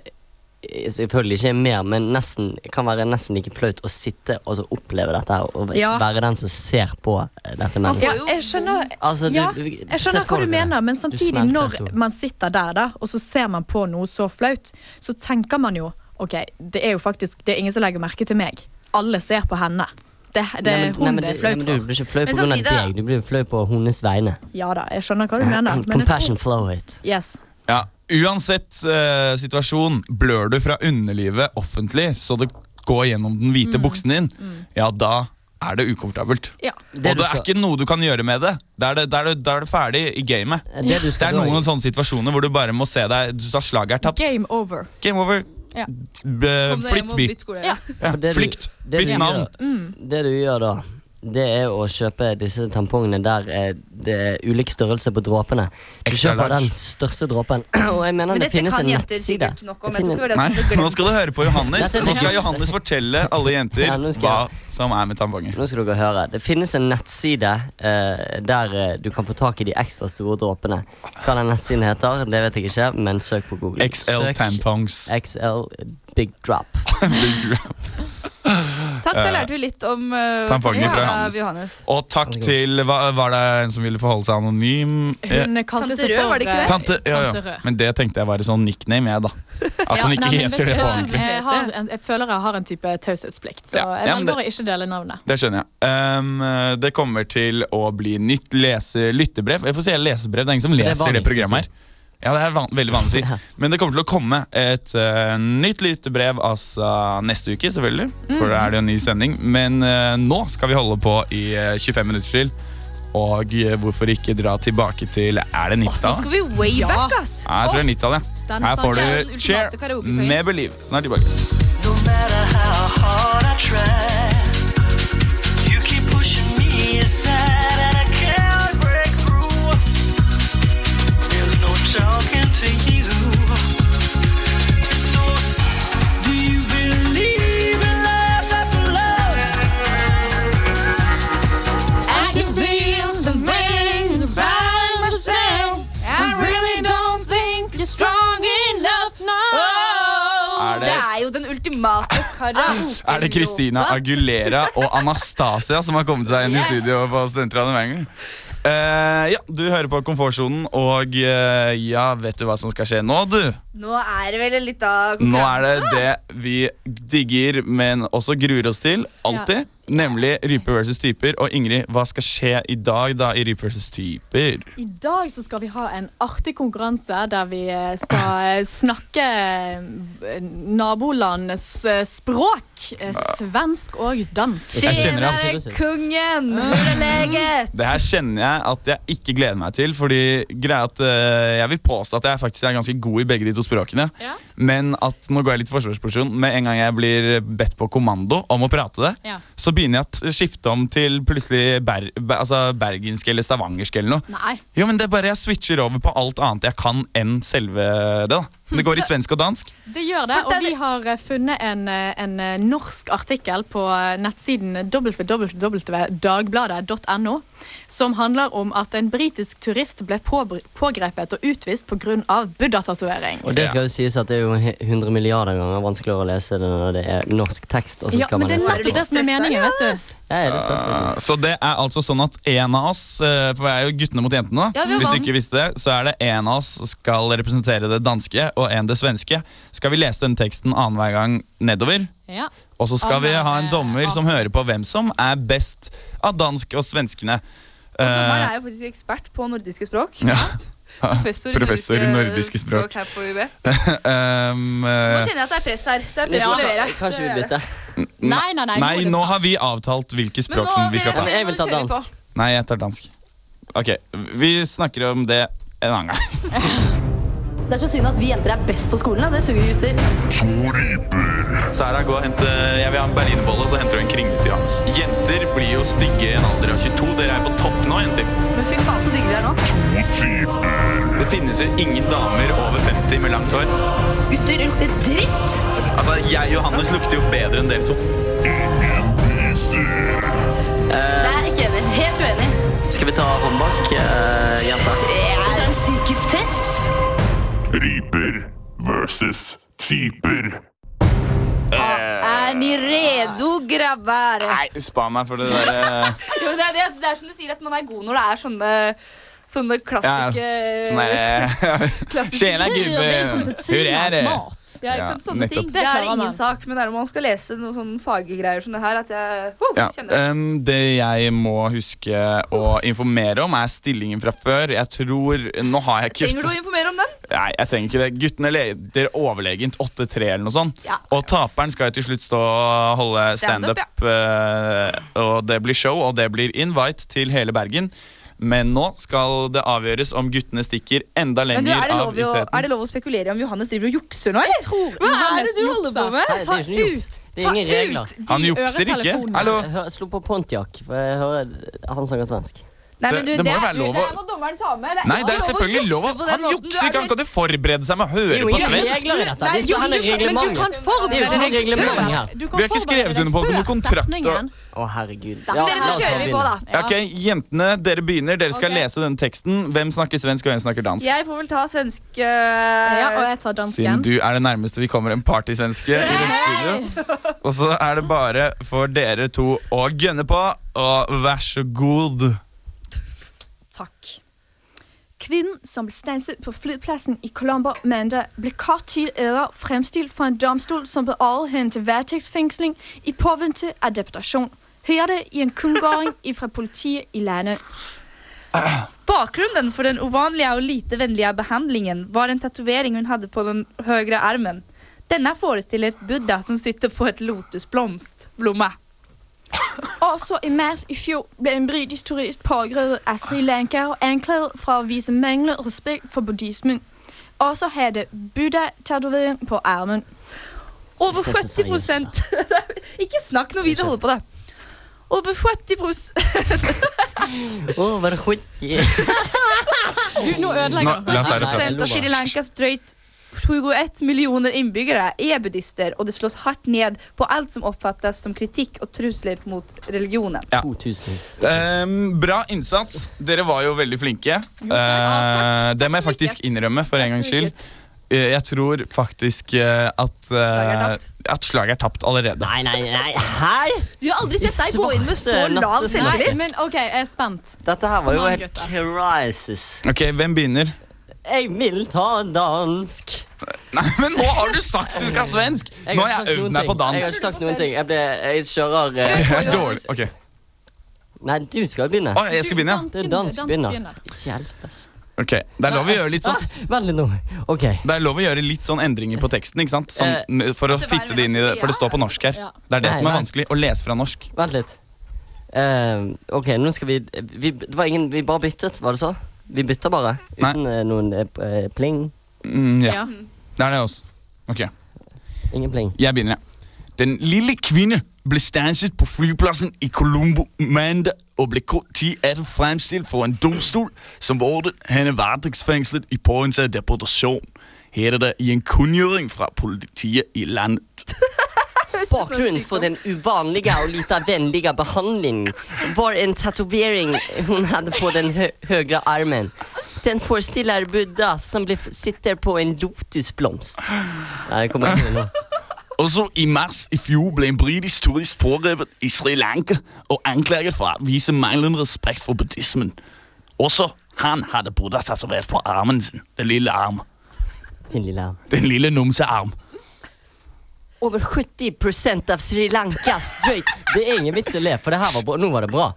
Speaker 4: selvfølgelig ikke er mer, men nesten, kan være nesten like flaut å sitte og så oppleve dette her, og
Speaker 8: Ja.
Speaker 4: være den som ser på eh, dette
Speaker 8: Ja,
Speaker 4: mennesket.
Speaker 8: jeg skjønner,
Speaker 4: Altså, du-
Speaker 8: ja,
Speaker 4: du-
Speaker 8: jeg
Speaker 4: se
Speaker 8: skjønner
Speaker 4: for
Speaker 8: hva du
Speaker 4: deg det.
Speaker 8: mener, men
Speaker 4: Du
Speaker 8: samtidig,
Speaker 4: smelter
Speaker 8: når
Speaker 4: stor.
Speaker 8: man sitter der, da, og så ser man på noe så flaut, så tenker man jo OK, det er jo faktisk det er ingen som legger merke til meg. Alle ser på henne. Det, det
Speaker 4: Nei,
Speaker 8: er
Speaker 4: men- nei,
Speaker 8: hun
Speaker 4: men
Speaker 8: det er
Speaker 4: du-
Speaker 8: flaut
Speaker 4: nei, men Du
Speaker 8: for.
Speaker 4: blir ikke flau
Speaker 2: Men
Speaker 4: på grunn av
Speaker 2: samtidig-
Speaker 4: deg, du blir flau på hennes vegne.
Speaker 8: Ja da, jeg skjønner hva du mener. Men jeg
Speaker 4: Eh, Compassion
Speaker 8: tror,
Speaker 4: flow it.
Speaker 8: yes.
Speaker 3: Ja, Uansett eh, situasjon, blør du fra underlivet offentlig, så det går gjennom den hvite buksen din, ja, da er det ukomfortabelt.
Speaker 8: Ja.
Speaker 4: Det
Speaker 3: og det
Speaker 4: du
Speaker 3: er
Speaker 4: skal-
Speaker 3: ikke noe du kan gjøre med det. Da er det, da er det, da er det ferdig i gamet.
Speaker 4: Eh, Det, du
Speaker 3: Det
Speaker 4: skal
Speaker 3: er
Speaker 4: da-
Speaker 3: noen sånne situasjoner hvor du bare må se deg Du sa slaget er tapt. Game,
Speaker 8: Game over.
Speaker 3: over.
Speaker 8: Ja.
Speaker 3: B flytt by.
Speaker 10: Ja.
Speaker 3: Ja,
Speaker 4: For det du-
Speaker 3: flykt.
Speaker 4: det
Speaker 3: Bytt
Speaker 4: du
Speaker 3: navn.
Speaker 4: gjør-
Speaker 2: Mm.
Speaker 4: Det du gjør da, det er å kjøpe disse tampongene der eh, det er ulik størrelse på dråpene. Du
Speaker 3: Extra
Speaker 4: kjøper
Speaker 3: large.
Speaker 4: den største dråpen, og jeg mener
Speaker 2: Men
Speaker 4: det
Speaker 2: dette
Speaker 4: finnes
Speaker 2: kan
Speaker 4: en
Speaker 2: jenter
Speaker 4: nettside.
Speaker 2: sikkert nok om.
Speaker 4: Det
Speaker 2: Jeg tror ikke
Speaker 4: finner-
Speaker 2: det var
Speaker 3: Nei,
Speaker 2: det som
Speaker 3: nå
Speaker 2: ble glemt.
Speaker 3: skal du høre på Johannes.
Speaker 4: Dette-
Speaker 3: Nå skal Johannes fortelle alle jenter
Speaker 4: Ja, nå skal
Speaker 3: hva
Speaker 4: jeg-
Speaker 3: som er med tamponger.
Speaker 4: Nå skal dere høre. Det finnes en nettside eh, der eh, du kan få tak i de ekstra store dråpene. Hva den nettsiden heter, det vet jeg ikke, men søk på Google.
Speaker 3: XL
Speaker 4: Søk
Speaker 3: tampongs.
Speaker 4: XL Big Drop.
Speaker 2: Takk, da lærte vi litt om eh,
Speaker 3: Tampongen
Speaker 2: ja,
Speaker 3: fra
Speaker 2: av
Speaker 3: Johannes.
Speaker 2: Johannes.
Speaker 3: Og takk til hva, Var det en som ville forholde seg anonym? Eh,
Speaker 8: Hun kalte
Speaker 2: Tante
Speaker 8: seg
Speaker 2: Rød,
Speaker 8: for
Speaker 2: var det ikke det?
Speaker 8: eh,
Speaker 3: Tante, ja,
Speaker 8: Tante
Speaker 3: ja.
Speaker 8: Rød.
Speaker 3: Men det tenkte jeg var et sånn nickname, jeg, da. At hun ikke
Speaker 8: nei, men
Speaker 3: heter det
Speaker 8: vet du
Speaker 3: på
Speaker 8: hva?
Speaker 3: ordentlig.
Speaker 8: Jeg, har en, jeg føler jeg har en type taushetsplikt, så
Speaker 3: Ja,
Speaker 8: jeg
Speaker 3: ja, men
Speaker 8: velger å ikke dele navnet.
Speaker 3: Det skjønner jeg. Ehm, det kommer til å bli nytt lese lyttebrev. Jeg får si lesebrev, det er ingen som
Speaker 4: er
Speaker 3: leser det,
Speaker 4: vanlig å
Speaker 3: programmet her. Ja, det er van veldig vanlig å si. Men det kommer til å komme et eh, nytt lyttebrev altså neste uke, selvfølgelig. For da er det jo en ny sending. Men eh, nå skal vi holde på i eh, 25 minutter til. Og eh, hvorfor ikke dra tilbake til Er det 90-tallet?
Speaker 10: Skal vi way
Speaker 8: Ja.
Speaker 10: back, ass?
Speaker 3: Ja, jeg tror det er 90-tallet.
Speaker 8: Den
Speaker 3: Her får
Speaker 10: er
Speaker 8: sangen
Speaker 3: du
Speaker 10: den
Speaker 3: Cheer
Speaker 10: ultimate karaokesangen.
Speaker 3: med Believe. Snart tilbake.
Speaker 10: I can feel some things inside myself. I really don't think you're strong enough now.
Speaker 3: Er
Speaker 2: Det
Speaker 3: det,
Speaker 2: er jo den ultimate karaoke.
Speaker 3: er det Christina Agulera og Anastasia som har kommet seg inn i studio på Studentradioen hver gang? Eh, ja, du hører på Komfortsonen, og eh, ja, vet du hva som skal skje nå, du?
Speaker 2: Nå er det vel litt av
Speaker 3: Nå er det det vi digger, men også gruer oss til. Alltid. Nemlig rype versus typer. Og Ingrid, hva skal skje i dag da i rype versus typer?
Speaker 8: I dag så skal vi ha en artig konkurranse der vi eh, skal eh, snakke eh, nabolandets eh, språk. eh, Svensk og dansk.
Speaker 3: Jeg kjenner at-
Speaker 2: Tjenere kongen, overleget.
Speaker 3: Det her kjenner jeg at jeg ikke gleder meg til. Fordi greia at øh, Jeg vil påstå at jeg faktisk er ganske god i begge de to språkene.
Speaker 8: Ja.
Speaker 3: Men at nå går jeg litt i forsvarsposisjon. Med en gang jeg blir bedt på kommando om å prate det,
Speaker 8: Ja.
Speaker 3: så begynner jeg å skifte om til plutselig ber ber altså bergensk eller stavangersk eller noe.
Speaker 8: Nei.
Speaker 3: Jo, men det er bare Jeg switcher over på alt annet jeg kan enn selve det. da Det går i svensk og dansk.
Speaker 8: Det gjør det, og vi har eh, funnet en, eh, en eh, norsk artikkel på eh, nettsiden www.dagbladet.no som handler om at en britisk turist ble påbr- pågrepet og utvist pga. buddha-tatovering.
Speaker 4: Og det skal jo sies at det er jo he- 100 milliarder ganger vanskeligere å lese det når det er norsk tekst. og så
Speaker 8: Ja,
Speaker 4: skal
Speaker 8: men
Speaker 4: man
Speaker 8: det er
Speaker 4: lese
Speaker 8: nettopp det som er meningen, vet du.
Speaker 4: Ja, ja, det er stress, faktisk.
Speaker 3: Så det er altså sånn at en av oss, eh, for vi er jo guttene mot jentene,
Speaker 2: Ja, vi har
Speaker 3: hvis du
Speaker 2: vann.
Speaker 3: ikke visste det, så er det en av oss som skal representere det danske og en det svenske. Skal vi lese den teksten annenhver gang nedover?
Speaker 10: Ja.
Speaker 3: Og så skal
Speaker 10: Om,
Speaker 3: vi ha
Speaker 10: eh,
Speaker 3: en dommer som hører på hvem som er best av dansk og svenskene.
Speaker 2: Og dommeren
Speaker 3: Eh,
Speaker 2: er jo faktisk ekspert på nordiske språk.
Speaker 3: ja. Eh,
Speaker 2: Professor,
Speaker 3: Professor i nordiske språk. Eh,
Speaker 2: her på UB. Så
Speaker 3: Um,
Speaker 2: nå kjenner
Speaker 3: eh,
Speaker 2: jeg at det er press her. Det er
Speaker 4: Vet
Speaker 2: press
Speaker 4: du
Speaker 2: å
Speaker 4: hva?
Speaker 2: levere.
Speaker 4: Kanskje vi eh,
Speaker 2: Det er det.
Speaker 4: bytter?
Speaker 8: Nei, nei, nei.
Speaker 3: nei,
Speaker 8: er det
Speaker 3: nå
Speaker 8: sant.
Speaker 3: har vi avtalt hvilke
Speaker 2: Men
Speaker 3: språk
Speaker 2: nå,
Speaker 3: som vi skal
Speaker 2: dere-
Speaker 3: ta.
Speaker 4: Men jeg vil ta
Speaker 2: nå kjører vi
Speaker 4: dansk.
Speaker 2: på.
Speaker 3: Nei, jeg tar dansk. Ok, vi snakker om det en annen gang.
Speaker 6: Det er så synd at vi jenter er best på skolen, da. det suger gutter.
Speaker 9: Sara, gå og hente Jeg vil ha en berlinebolle, og så henter du en kringle til Hans. Jenter blir jo stygge i en alder av 22. Dere er på topp nå, jenter.
Speaker 6: Men fy faen så digge vi er nå.
Speaker 9: Det finnes jo ingen damer over 50 med langt hår.
Speaker 6: Gutter lukter dritt.
Speaker 9: Altså, jeg og Hannes lukter jo bedre enn dere to.
Speaker 6: Det er jeg ikke enig. i. Helt uenig.
Speaker 4: Skal vi ta håndbak, uh,
Speaker 3: eh,
Speaker 4: jenter?
Speaker 6: Skal vi ta en psykisk test?
Speaker 11: Ryper versus typer.
Speaker 2: Er ni redo, grabber?
Speaker 3: Nei, spa meg for det der. eh,
Speaker 2: Jo, det, er, det, det er som du sier, at man er god når det er sånne, sånne
Speaker 3: Ja,
Speaker 2: klassiske
Speaker 3: sånn der eh,
Speaker 2: Klassisk.
Speaker 3: Tjena,
Speaker 10: Hej och välkommen
Speaker 3: gubben!
Speaker 10: till
Speaker 3: Hur
Speaker 10: Tina
Speaker 3: er det?
Speaker 10: Smart.
Speaker 2: Ja, ikke sant?
Speaker 3: Ja,
Speaker 2: Sånne ting.
Speaker 3: nettopp.
Speaker 2: Det
Speaker 10: Det
Speaker 2: er
Speaker 10: klarer man.
Speaker 2: ingen sak, men det er når man skal lese noen sånne faggreier som det her, at jeg oh,
Speaker 3: Ja, eh,
Speaker 2: kjenner
Speaker 3: em, det jeg må huske å informere om, er stillingen fra før. Jeg tror Nå har jeg ikke
Speaker 2: Trenger du å informere om den?
Speaker 3: Nei, jeg trenger ikke det. Guttene leder overlegent 8-3 eller noe sånt.
Speaker 2: Ja.
Speaker 3: Og taperen skal jo til slutt stå og holde
Speaker 2: Stand-up,
Speaker 3: standup. eh, og det blir show, og det blir invite til hele Bergen. Men nå skal det avgjøres om guttene stikker enda
Speaker 2: Men du,
Speaker 3: lenger
Speaker 2: er det,
Speaker 3: av
Speaker 2: lov å, er det lov å spekulere om Johannes driver og jukser nå, eller? Hva er det
Speaker 8: Johannes
Speaker 2: du holder på
Speaker 8: jukser.
Speaker 2: med?
Speaker 4: Nei, det er jo ikke noe juks. Det er ingen regler.
Speaker 8: de
Speaker 3: Han jukser ikke.
Speaker 8: øretelefonene.
Speaker 3: Hallo.
Speaker 4: Jeg hø- slo på Pontiac, for jeg hører han snakker svensk.
Speaker 2: Nei, men du,
Speaker 3: Det- det må
Speaker 2: er-
Speaker 3: være lov å-
Speaker 2: det her må dommeren ta med.
Speaker 3: Nei, det er
Speaker 2: ikke
Speaker 3: selvfølgelig
Speaker 2: å
Speaker 3: lov.
Speaker 2: jukse på den
Speaker 3: Han
Speaker 2: måten. Du er
Speaker 3: jukser ikke. Han
Speaker 2: helt-
Speaker 3: kan ikke forberede seg med å
Speaker 4: Det er
Speaker 3: høre
Speaker 4: jo
Speaker 3: på
Speaker 4: ikke
Speaker 3: svensk.
Speaker 4: regler i dette. Det er
Speaker 2: Jo,
Speaker 4: så her
Speaker 2: du-
Speaker 4: er
Speaker 8: Men du kan
Speaker 4: reglementet. Det er jo
Speaker 8: forberede
Speaker 4: ikke noe
Speaker 8: deg
Speaker 4: reglement
Speaker 8: før.
Speaker 4: her.
Speaker 8: Du
Speaker 3: Vi har ikke
Speaker 8: forberede
Speaker 3: skrevet
Speaker 8: deg
Speaker 3: under på
Speaker 8: før
Speaker 3: noen kontrakt, og-
Speaker 8: setningen.
Speaker 4: Å, herregud.
Speaker 8: Dere,
Speaker 4: Ja,
Speaker 2: Dere,
Speaker 4: la
Speaker 2: nå
Speaker 4: oss
Speaker 2: kjører vi på, da.
Speaker 8: Ja.
Speaker 3: Ok, Jentene, dere begynner. Dere skal
Speaker 2: Ok.
Speaker 3: lese denne teksten. Hvem snakker svensk, og hvem snakker dansk?
Speaker 2: Jeg får vel ta svensk øh,
Speaker 8: Ja, og jeg tar
Speaker 3: Siden
Speaker 8: dansken.
Speaker 3: du er det nærmeste vi kommer en partysvenske i dette studio. Og så er det bare for dere to å gønne på, og vær så god.
Speaker 8: Takk. Kvinnen som ble stanset på flyplassen i Colombo mandag, ble kort tid etter fremstilt for en domstol som beordret henne til varetektsfengsling i påvente av deportasjon. Hører det i en kunngjøring fra politiet i landet.
Speaker 2: Bakgrunnen for den ovanliga och lite vänliga behandlingen var en tatuering hon hade på den högra armen. Denna föreställer ett Buddha som sitter på ett lotusblomst, blomma.
Speaker 8: Også i mars i fjor ble en britisk turist pågrepet av Sri Lanka og anklaget for å vise manglende respekt for buddhismen. Også hadde Buddha-tatovering på armen.
Speaker 2: Over
Speaker 4: Det ser så
Speaker 2: 70 procent...
Speaker 3: sånn,
Speaker 2: Ikke snakk når vi holder på det. Over 70 procent...
Speaker 4: Å, var det skit?
Speaker 10: Du, nå ødelegger dere.
Speaker 3: la oss sånn. være ferdig.
Speaker 2: av Sri Lankas drøyt 21 miljoner innbyggere er buddhister, og det slås hardt ned på alt som oppfattes som kritikk og trusler mot religionen.
Speaker 4: 2000.
Speaker 3: Ehm, bra innsats. Dere var jo veldig
Speaker 2: Ja,
Speaker 3: flinke. Eh,
Speaker 2: Ah, takk.
Speaker 3: det må jeg
Speaker 2: Takk så
Speaker 3: faktisk
Speaker 2: mye.
Speaker 3: innrømme for en
Speaker 2: Takk
Speaker 3: gangs
Speaker 2: så
Speaker 3: skyld.
Speaker 2: mye.
Speaker 3: Eh, Jeg tror faktisk eh, at
Speaker 2: Slaget er
Speaker 3: eh,
Speaker 2: tapt.
Speaker 3: At slaget er tapt allerede.
Speaker 4: Nei, nei, nei. Hei!
Speaker 2: Du har aldri sett deg gå inn med så
Speaker 4: Svarte
Speaker 2: lav
Speaker 4: nattesvarte.
Speaker 2: selvtillit.
Speaker 8: men OK, jeg er spent.
Speaker 4: Dette her var jo
Speaker 8: Kom an,
Speaker 4: helt crisis.
Speaker 3: Ok, Hvem begynner?
Speaker 4: Jeg vil ta dansk.
Speaker 3: Nei, men Nå har du sagt du skal ha svensk! Nå har
Speaker 4: sagt
Speaker 3: jeg øvd
Speaker 4: noen
Speaker 3: meg på
Speaker 4: ting. Jeg har
Speaker 3: dansk.
Speaker 4: ikke sagt noen ting. Jeg, ble, jeg kjører eh,
Speaker 3: Jeg er dårlig. Ok,
Speaker 4: Nei, du skal begynne.
Speaker 3: Å, jeg skal begynne, ja.
Speaker 4: Det er dansk begynner. Hjelpes.
Speaker 3: Ok, Det er lov å gjøre litt sånn
Speaker 4: Ah, vent litt nå. OK.
Speaker 3: Det er lov å gjøre litt sånn endringer på teksten, ikke sant? Sånn,
Speaker 8: Eh,
Speaker 3: n- for å
Speaker 2: det
Speaker 3: fitte
Speaker 2: var-
Speaker 3: det inn i det, for det står på norsk her.
Speaker 8: Ja.
Speaker 3: Det er det
Speaker 4: Nei,
Speaker 3: som er
Speaker 4: nei.
Speaker 3: vanskelig, å lese fra norsk.
Speaker 4: Vent litt. Eh, ok, nå skal vi, vi Det var ingen Vi bare byttet, var det så? Vi bytter bare.
Speaker 3: Nei.
Speaker 4: Uten eh, noen eh, p- eh, pling.
Speaker 3: Mm, ja.
Speaker 8: Ja.
Speaker 3: Det er det også. Ok,
Speaker 4: Ingen pling.
Speaker 3: jeg begynner, jeg. Den lille kvinne ble stanset på flyplassen i Colombo mandag og ble kort tid etter fremstilt for en domstol som beordret henne varetektsfengslet i påvente av deportasjon.
Speaker 12: heter det i en kunngjøring fra politiet i landet.
Speaker 4: Bakgrunnen for den uvanlige og lite vennlige behandlingen var en tatovering hun hadde på den hø høyre armen. Den forestiller Buddha som ble sitter på en lotusblomst. Nei, det kommer ikke nå.
Speaker 12: Og så i mars i fjor ble en britisk turist pågrepet i Sri Lanka og anklaget for å vise manglende respekt for buddhismen. Også han hadde Buddha tatovert på armen sin. Den lille arm.
Speaker 4: Din lille
Speaker 12: Den lille numsearm.
Speaker 4: Over 70 av Sri Lankas drøyt Det er ingen vits å le, for det her var bra. nå var det bra.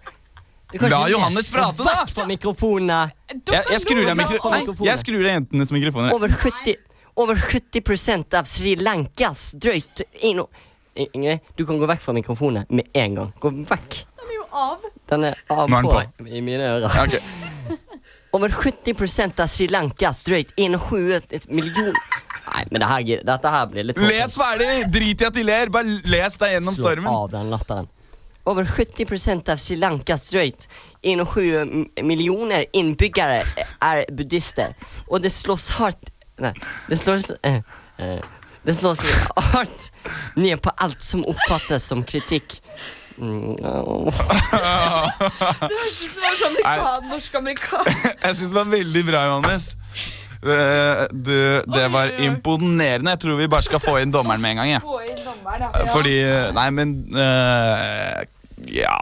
Speaker 4: Du kan
Speaker 3: La
Speaker 4: ikke le.
Speaker 3: Johannes prate, da!
Speaker 4: Vekk fra mikrofonene.
Speaker 3: Jeg, jeg skrur av
Speaker 4: Vekk
Speaker 3: mikro
Speaker 4: fra
Speaker 3: Nei,
Speaker 4: mikrofonene.
Speaker 3: jeg skrur av jentenes mikrofoner.
Speaker 4: Over 70, over 70 av Sri Lankas drøyt inno... I- Ingrid, du kan gå vekk fra mikrofonen med en gang. Gå vekk.
Speaker 8: Den er jo av.
Speaker 4: Den er av
Speaker 3: Nå er den
Speaker 4: på, i mine ører.
Speaker 3: Ja, ok.
Speaker 4: Over 70 av Sri Lankas drøyt innhuet et million Nei, men det her, gir- dette her blir litt
Speaker 3: Les ferdig! Drit i at de ler. Bare les deg gjennom
Speaker 4: Slå
Speaker 3: stormen.
Speaker 4: av den latteren. Over 70 av Sri Lankas drøyt, 21 millioner innbyggere er buddhister. Og det slås hardt Nei, det slås eh, eh, Det slås hardt ned på alt som oppfattes som kritikk. Mm, åh.
Speaker 2: Du er sånn amerikan, norsk-amerikan.
Speaker 3: Jeg syns det var veldig bra, Johannes. Eh, Du, det var imponerende. Jeg tror vi bare skal få inn dommeren med en gang. jeg.
Speaker 2: Gå inn dommeren, ja.
Speaker 3: Fordi Nei, men eh, Ja.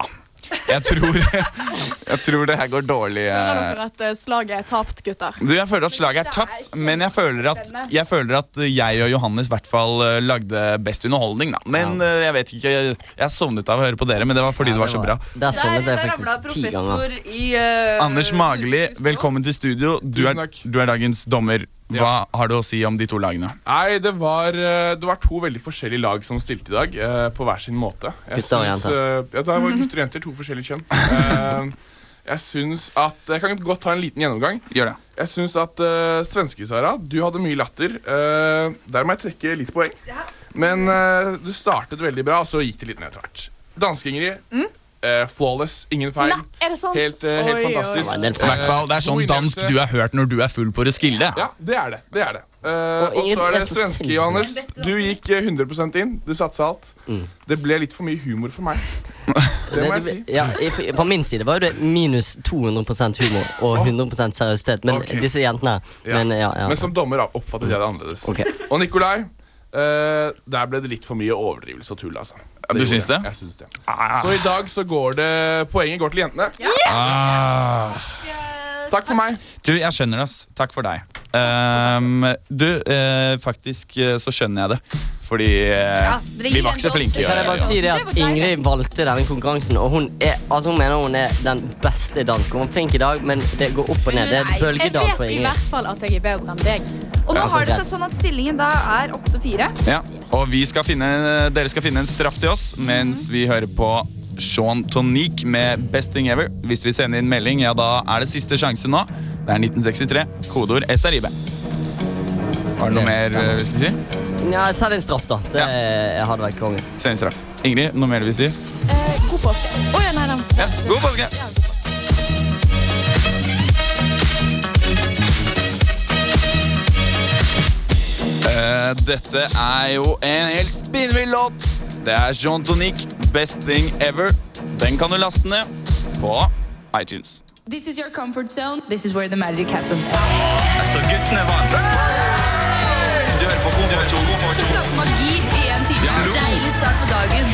Speaker 3: Jeg tror Jeg tror det her går dårlig.
Speaker 8: Føler
Speaker 3: eh.
Speaker 8: dere at eh, slaget er tapt, gutter?
Speaker 3: Du, Jeg føler at slaget er
Speaker 2: Det er
Speaker 3: tapt, men jeg føler at
Speaker 2: kjempespennende.
Speaker 3: jeg, føler at jeg og Johannes i hvert fall eh, lagde best underholdning. da Men
Speaker 4: Ja.
Speaker 3: eh, jeg vet ikke, jeg, jeg sovnet av å høre på dere, men det var fordi det var så bra.
Speaker 4: Der
Speaker 2: Der,
Speaker 4: sovnet
Speaker 2: der
Speaker 4: jeg
Speaker 2: ramla
Speaker 4: sånn faktisk ti ganger.
Speaker 2: professor i eh,
Speaker 3: Anders Mageli, velkommen til studio. Du er,
Speaker 7: Tusen takk.
Speaker 3: du er dagens dommer. Hva
Speaker 7: Ja.
Speaker 3: har du å si om de to lagene?
Speaker 7: Nei, det var, eh, det var to veldig forskjellige lag som stilte i dag, eh, på hver sin måte. Jeg
Speaker 4: Gutter og
Speaker 7: syns,
Speaker 4: jenter.
Speaker 7: eh, Ja, det var gutter og jenter, to forskjellige kjønn. Eh, Jeg syns at Jeg kan godt ta en liten gjennomgang.
Speaker 3: Gjør det.
Speaker 7: Jeg syns at eh, svenske Sara, du hadde mye latter. Eh, der må jeg trekke litt poeng. Men eh, du startet veldig bra, og så gikk det litt ned etter hvert. Danske-Ingrid. eh, flawless, ingen feil.
Speaker 8: Mm. Nei, er det sant?
Speaker 7: Helt, eh, helt
Speaker 8: Oi, oi, oi.
Speaker 7: fantastisk.
Speaker 4: Det
Speaker 7: Eh,
Speaker 4: var en del
Speaker 3: I hvert fall, Det er sånn
Speaker 7: God
Speaker 3: dansk
Speaker 7: innlevelse.
Speaker 3: du har hørt når du er full på Roskilde.
Speaker 7: Ja, det er det. det, er det. Eh, og
Speaker 4: ingen
Speaker 7: så er det
Speaker 4: er så
Speaker 7: svenske,
Speaker 4: sint.
Speaker 7: Johannes. Du gikk eh, 100 inn. Du satsa alt.
Speaker 4: Mm.
Speaker 7: Det ble litt for mye humor for meg. Det må jeg si.
Speaker 4: Ja, i- på min side var jo det minus 200 humor og 100 seriøsitet. Men
Speaker 7: Ok.
Speaker 4: disse jentene
Speaker 7: Ja.
Speaker 4: Men ja, ja.
Speaker 7: Men som dommer da, oppfattet jeg det annerledes.
Speaker 4: Ok.
Speaker 7: Og Nikolai, eh, der ble det litt for mye overdrivelse og tull, altså.
Speaker 3: Ja, du
Speaker 7: gjorde
Speaker 3: syns det? Ah.
Speaker 7: Jeg, jeg syns det. Så i dag så går det Poenget går til jentene.
Speaker 3: Ah.
Speaker 7: Takk for meg.
Speaker 3: Du, jeg skjønner det. ass. Takk for deg. Ehm, du, eh, faktisk eh, så skjønner jeg det. Fordi eh,
Speaker 2: dere
Speaker 3: vi
Speaker 2: gir den
Speaker 3: var ikke så
Speaker 2: til oss,
Speaker 3: flinke.
Speaker 2: dere
Speaker 3: i
Speaker 4: sånn Kan jeg
Speaker 3: dag.
Speaker 4: bare si det
Speaker 8: Det var
Speaker 4: at
Speaker 8: deilig.
Speaker 4: Ingrid valgte denne konkurransen, og hun er, altså hun mener hun er den beste dansker. Hun er flink i dag, men det går opp og ned. Det er
Speaker 2: Nei,
Speaker 8: Jeg
Speaker 4: bølgedal for
Speaker 8: vet i
Speaker 4: Ingrid.
Speaker 8: hvert fall at jeg er bedre enn deg.
Speaker 2: Og nå
Speaker 4: Ja,
Speaker 2: har det
Speaker 4: så
Speaker 2: seg sånn at stillingen da er 8-4.
Speaker 3: Ja, og vi skal finne, dere skal finne en straff til oss mens vi hører på Sean Tonique med Best Thing Ever. Hvis vi sender inn melding, ja da er det siste sjanse nå. Det er 1963. Kodeord SRIB. Var det noe mer eh, vi skulle si?
Speaker 4: Ja, Send en straff, da. Det
Speaker 3: Ja.
Speaker 4: eh, hadde vært konge.
Speaker 3: Send inn straff. Ingrid, noe mer du vil si?
Speaker 8: Eh, god påske. Å ja, nei, nei.
Speaker 3: Ja, god påske! Eh, dette er jo en helt spinnvill låt. Det er John Tonic, Best Thing Ever. Den kan du laste ned på iTunes.
Speaker 10: This is your comfort zone.
Speaker 5: This is where the magic happens.
Speaker 9: Så guttene vant.
Speaker 3: Du hører på Konfirmasjonen.
Speaker 10: Skape magi i en time. Deilig start på dagen.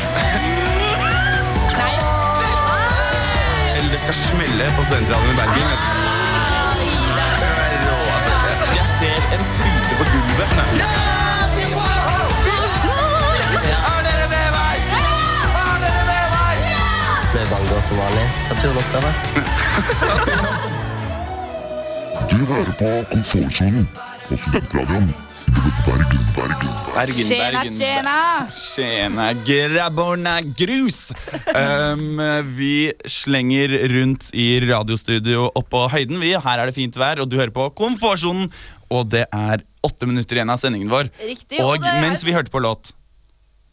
Speaker 10: Nei, først
Speaker 3: Eller det skal smelle på Studentradioen i Bergen. Det er rå, altså. Jeg ser en truse på gulvet. Ja, vi var, vi var. Er dere med meg? Er dere med meg?
Speaker 4: Ble banga som vanlig. Ta turen opp der, da.
Speaker 11: Du hører på Komfortsonen på Studentradioen. Bergen, Bergen.
Speaker 3: Bergen,
Speaker 2: Tjena,
Speaker 3: Bergen.
Speaker 2: tjena!
Speaker 3: Tjena, grabborna grus! Um, vi slenger rundt i radiostudio oppå høyden. Vi. Her er det fint vær, og du hører på Komfortsonen. Og det er åtte minutter igjen av sendingen vår.
Speaker 2: Riktig.
Speaker 3: Og
Speaker 2: det er-
Speaker 3: mens vi hørte på låt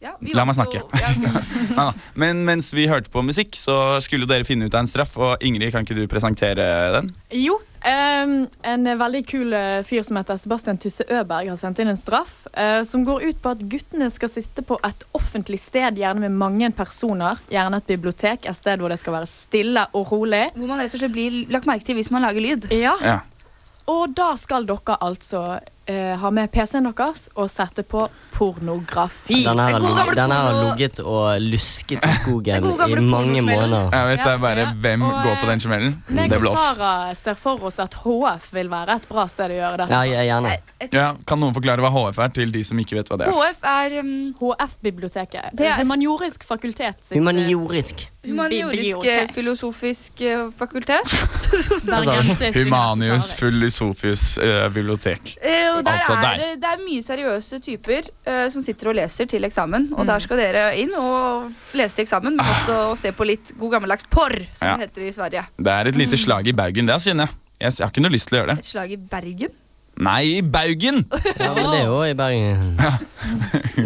Speaker 2: Ja, vi
Speaker 3: La
Speaker 2: vant
Speaker 3: meg
Speaker 2: jo-
Speaker 3: snakke.
Speaker 2: Ja, vi-
Speaker 3: Nei da. Men mens vi hørte på musikk, så skulle dere finne ut av en straff. Og Ingrid, kan ikke du presentere den?
Speaker 8: Jo, Ehm, en veldig kul eh, fyr som heter Sebastian Tysse Øberg har sendt inn en straff eh, som går ut på at guttene skal sitte på et offentlig sted, gjerne med mange personer. Gjerne et bibliotek, et sted hvor det skal være stille og rolig.
Speaker 2: Hvor man rett og slett blir lagt merke til hvis man lager lyd.
Speaker 8: Ja. Og da skal dere altså eh, ha med PC-en deres og sette på pornografi.
Speaker 4: Den her har ligget- den her har ligget og lusket i skogen i mange måneder.
Speaker 3: Jeg vet, det er bare hvem
Speaker 8: Og,
Speaker 3: går på den
Speaker 2: eh,
Speaker 3: smellen.
Speaker 8: Meg
Speaker 3: Det
Speaker 8: og
Speaker 3: blir oss.
Speaker 8: Sara ser for oss at HF vil være et bra sted å gjøre dette.
Speaker 3: Ja, kan noen forklare hva HF er til de som ikke vet hva det er?
Speaker 8: HF er
Speaker 2: um,
Speaker 8: HF-biblioteket.
Speaker 2: det er-
Speaker 8: Eh, Humaniorisk fakultet. sitt, eh,
Speaker 4: Humaniorisk.
Speaker 2: Humaniorisk eh,
Speaker 8: bibliotek.
Speaker 2: filosofisk eh, fakultet.
Speaker 3: Altså,
Speaker 8: Bergenses
Speaker 3: Humanius Fullisofius eh, bibliotek.
Speaker 2: Eh, og der
Speaker 3: Altså
Speaker 2: er,
Speaker 3: der.
Speaker 2: det- det er mye seriøse typer eh, som sitter og leser til eksamen. Og der skal dere inn og lese til eksamen, men også se på litt god gammeldags porr, som
Speaker 3: Ah. Ja.
Speaker 2: det heter i Sverige.
Speaker 3: Det er et lite slag i baugen. Det kjenner jeg. Jeg jeg har ikke noe lyst til å gjøre
Speaker 2: Et
Speaker 3: det.
Speaker 2: slag i Bergen.
Speaker 3: Nei, i baugen!
Speaker 4: Ja, men det er jo i Bergen.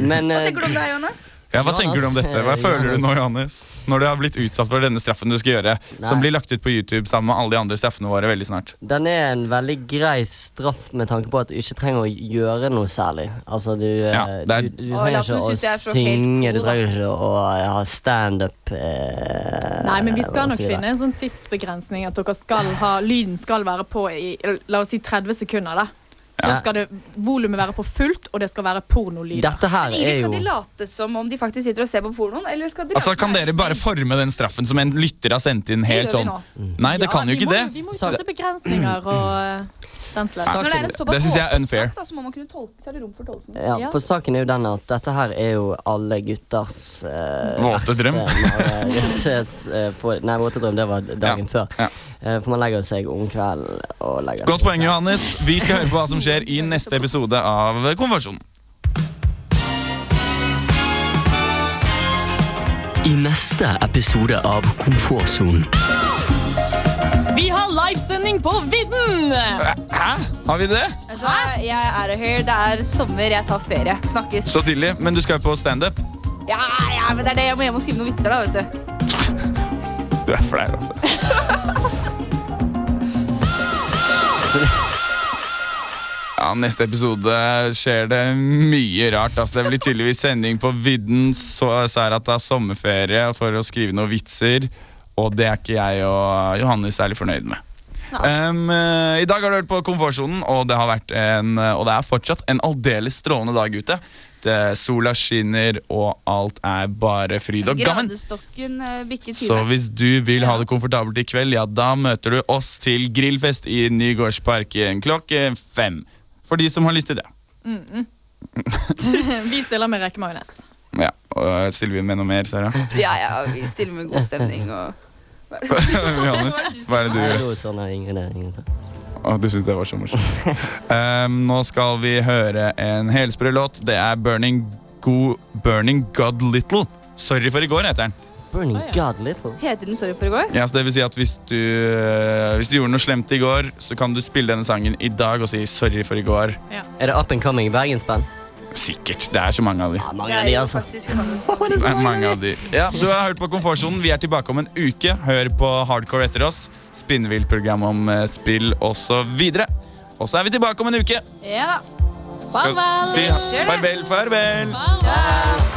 Speaker 4: Men
Speaker 2: Hva
Speaker 4: eh,
Speaker 2: tenker du om det her, Jonas?
Speaker 3: Ja, hva tenker du om dette? Hva
Speaker 4: Johannes, eh,
Speaker 3: føler du nå,
Speaker 4: Johannes.
Speaker 3: Johannes? Når du har blitt utsatt for denne straffen du skal gjøre, som blir lagt ut på YouTube sammen med alle de andre straffene våre veldig snart.
Speaker 4: Den er en veldig grei straff med tanke på at du ikke trenger å gjøre noe særlig. Altså, du, eh, du, du
Speaker 2: Å,
Speaker 4: trenger
Speaker 2: Lasse
Speaker 4: ikke å
Speaker 2: synes jeg er så helt
Speaker 4: synge, du
Speaker 2: cool, da.
Speaker 4: trenger ikke å eh, ha standup eh,
Speaker 8: Nei, men vi
Speaker 4: hva
Speaker 8: skal nok
Speaker 4: sier jeg?
Speaker 8: finne en sånn tidsbegrensning at dere skal ha, lyden skal være på i la oss si 30 sekunder. da. Så
Speaker 4: Ja.
Speaker 8: skal det volumet være på fullt, og det skal være pornolyder.
Speaker 4: Dette her
Speaker 2: Ingrid, skal de late som om de faktisk sitter og ser på pornoen, eller skal de
Speaker 3: Altså,
Speaker 2: late
Speaker 3: Kan dere bare forme den straffen som en lytter har sendt inn? helt
Speaker 2: Det gjør vi
Speaker 3: sånn? Nei, det kan jo ikke det.
Speaker 8: Vi må jo sette begrensninger og eh, den slags.
Speaker 3: Når det er en såpass Det synes jeg er åpen unfair. straff,
Speaker 2: da, så må man kunne tolke, så er det rom for tolkning.
Speaker 4: Ja, for saken er jo den at dette her er jo alle gutters eh,
Speaker 3: Våte
Speaker 4: verste
Speaker 3: drøm.
Speaker 4: mare- rettes, eh, på- Nei, våte drøm, det var dagen før. Eh, for man legger jo seg om kvelden og legger
Speaker 3: Godt
Speaker 4: seg.
Speaker 3: poeng, Johannes. Vi skal høre på hva som skjer i neste episode av Konversjonen.
Speaker 13: I neste episode av Komfortsonen.
Speaker 10: Vi har livesending på vidden!
Speaker 3: Hæ? Har vi det?
Speaker 2: Vet du hva? Jeg er her, det er sommer, jeg tar ferie. Snakkes.
Speaker 3: Så tidlig. Men du skal jo på standup.
Speaker 2: Ja, ja, men det er det. Jeg må hjem og skrive noen vitser, da, vet du.
Speaker 3: Du er flau, altså. Ja, Neste episode skjer det mye rart. Altså, det blir tydeligvis sending på vidden. Så Sara tar sommerferie for å skrive noen vitser. Og det er ikke jeg og Johannes særlig fornøyd med. Em, eh, I dag har du hørt på Komfortsonen, og det har vært en eh, Og det er fortsatt en aldeles strålende dag ute. Det, sola skinner, og alt er bare fryd og gammen.
Speaker 2: Gradestokken eh, bikker 20.
Speaker 3: Så hvis du vil ha det komfortabelt i kveld, ja, da møter du oss til grillfest i Nygårdsparken klokken fem. For de som har lyst til det.
Speaker 8: Mm -mm. vi stiller med rekemajones.
Speaker 3: Ja, og Silje med noe mer, Sara?
Speaker 2: Ja, ja, vi stiller med god stemning og
Speaker 3: Johannes, hva er det
Speaker 4: Nei, det
Speaker 3: du
Speaker 4: var sånn, nei, ingen, det, ingen, sånn.
Speaker 3: Å, du syns det var så morsomt. Em, Ehm, nå skal vi høre en helsprø låt. Det er Burning Go Burning God Little. Sorry for i går, heter den.
Speaker 4: Burning God Little.
Speaker 2: Heter den Sorry for i går?
Speaker 3: Ja, så det vil si at hvis du, eh, hvis du gjorde noe slemt i går, så kan du spille denne sangen i dag og si sorry for i går.
Speaker 2: Ja.
Speaker 4: Er det up and coming bergensband?
Speaker 3: Sikkert. Det er så mange av de.
Speaker 4: mange av de, altså.
Speaker 2: Faktisk, Johannes.
Speaker 3: Det er mange av de. Ja, du har hørt på Komfortsonen. Vi er tilbake om en uke. Hør på Hardcore etter oss. Spinnvilt program om eh, spill osv. Og så er vi tilbake om en uke.
Speaker 2: Ja da.
Speaker 3: Skal si
Speaker 10: Kjør det.
Speaker 3: farvel, farvel.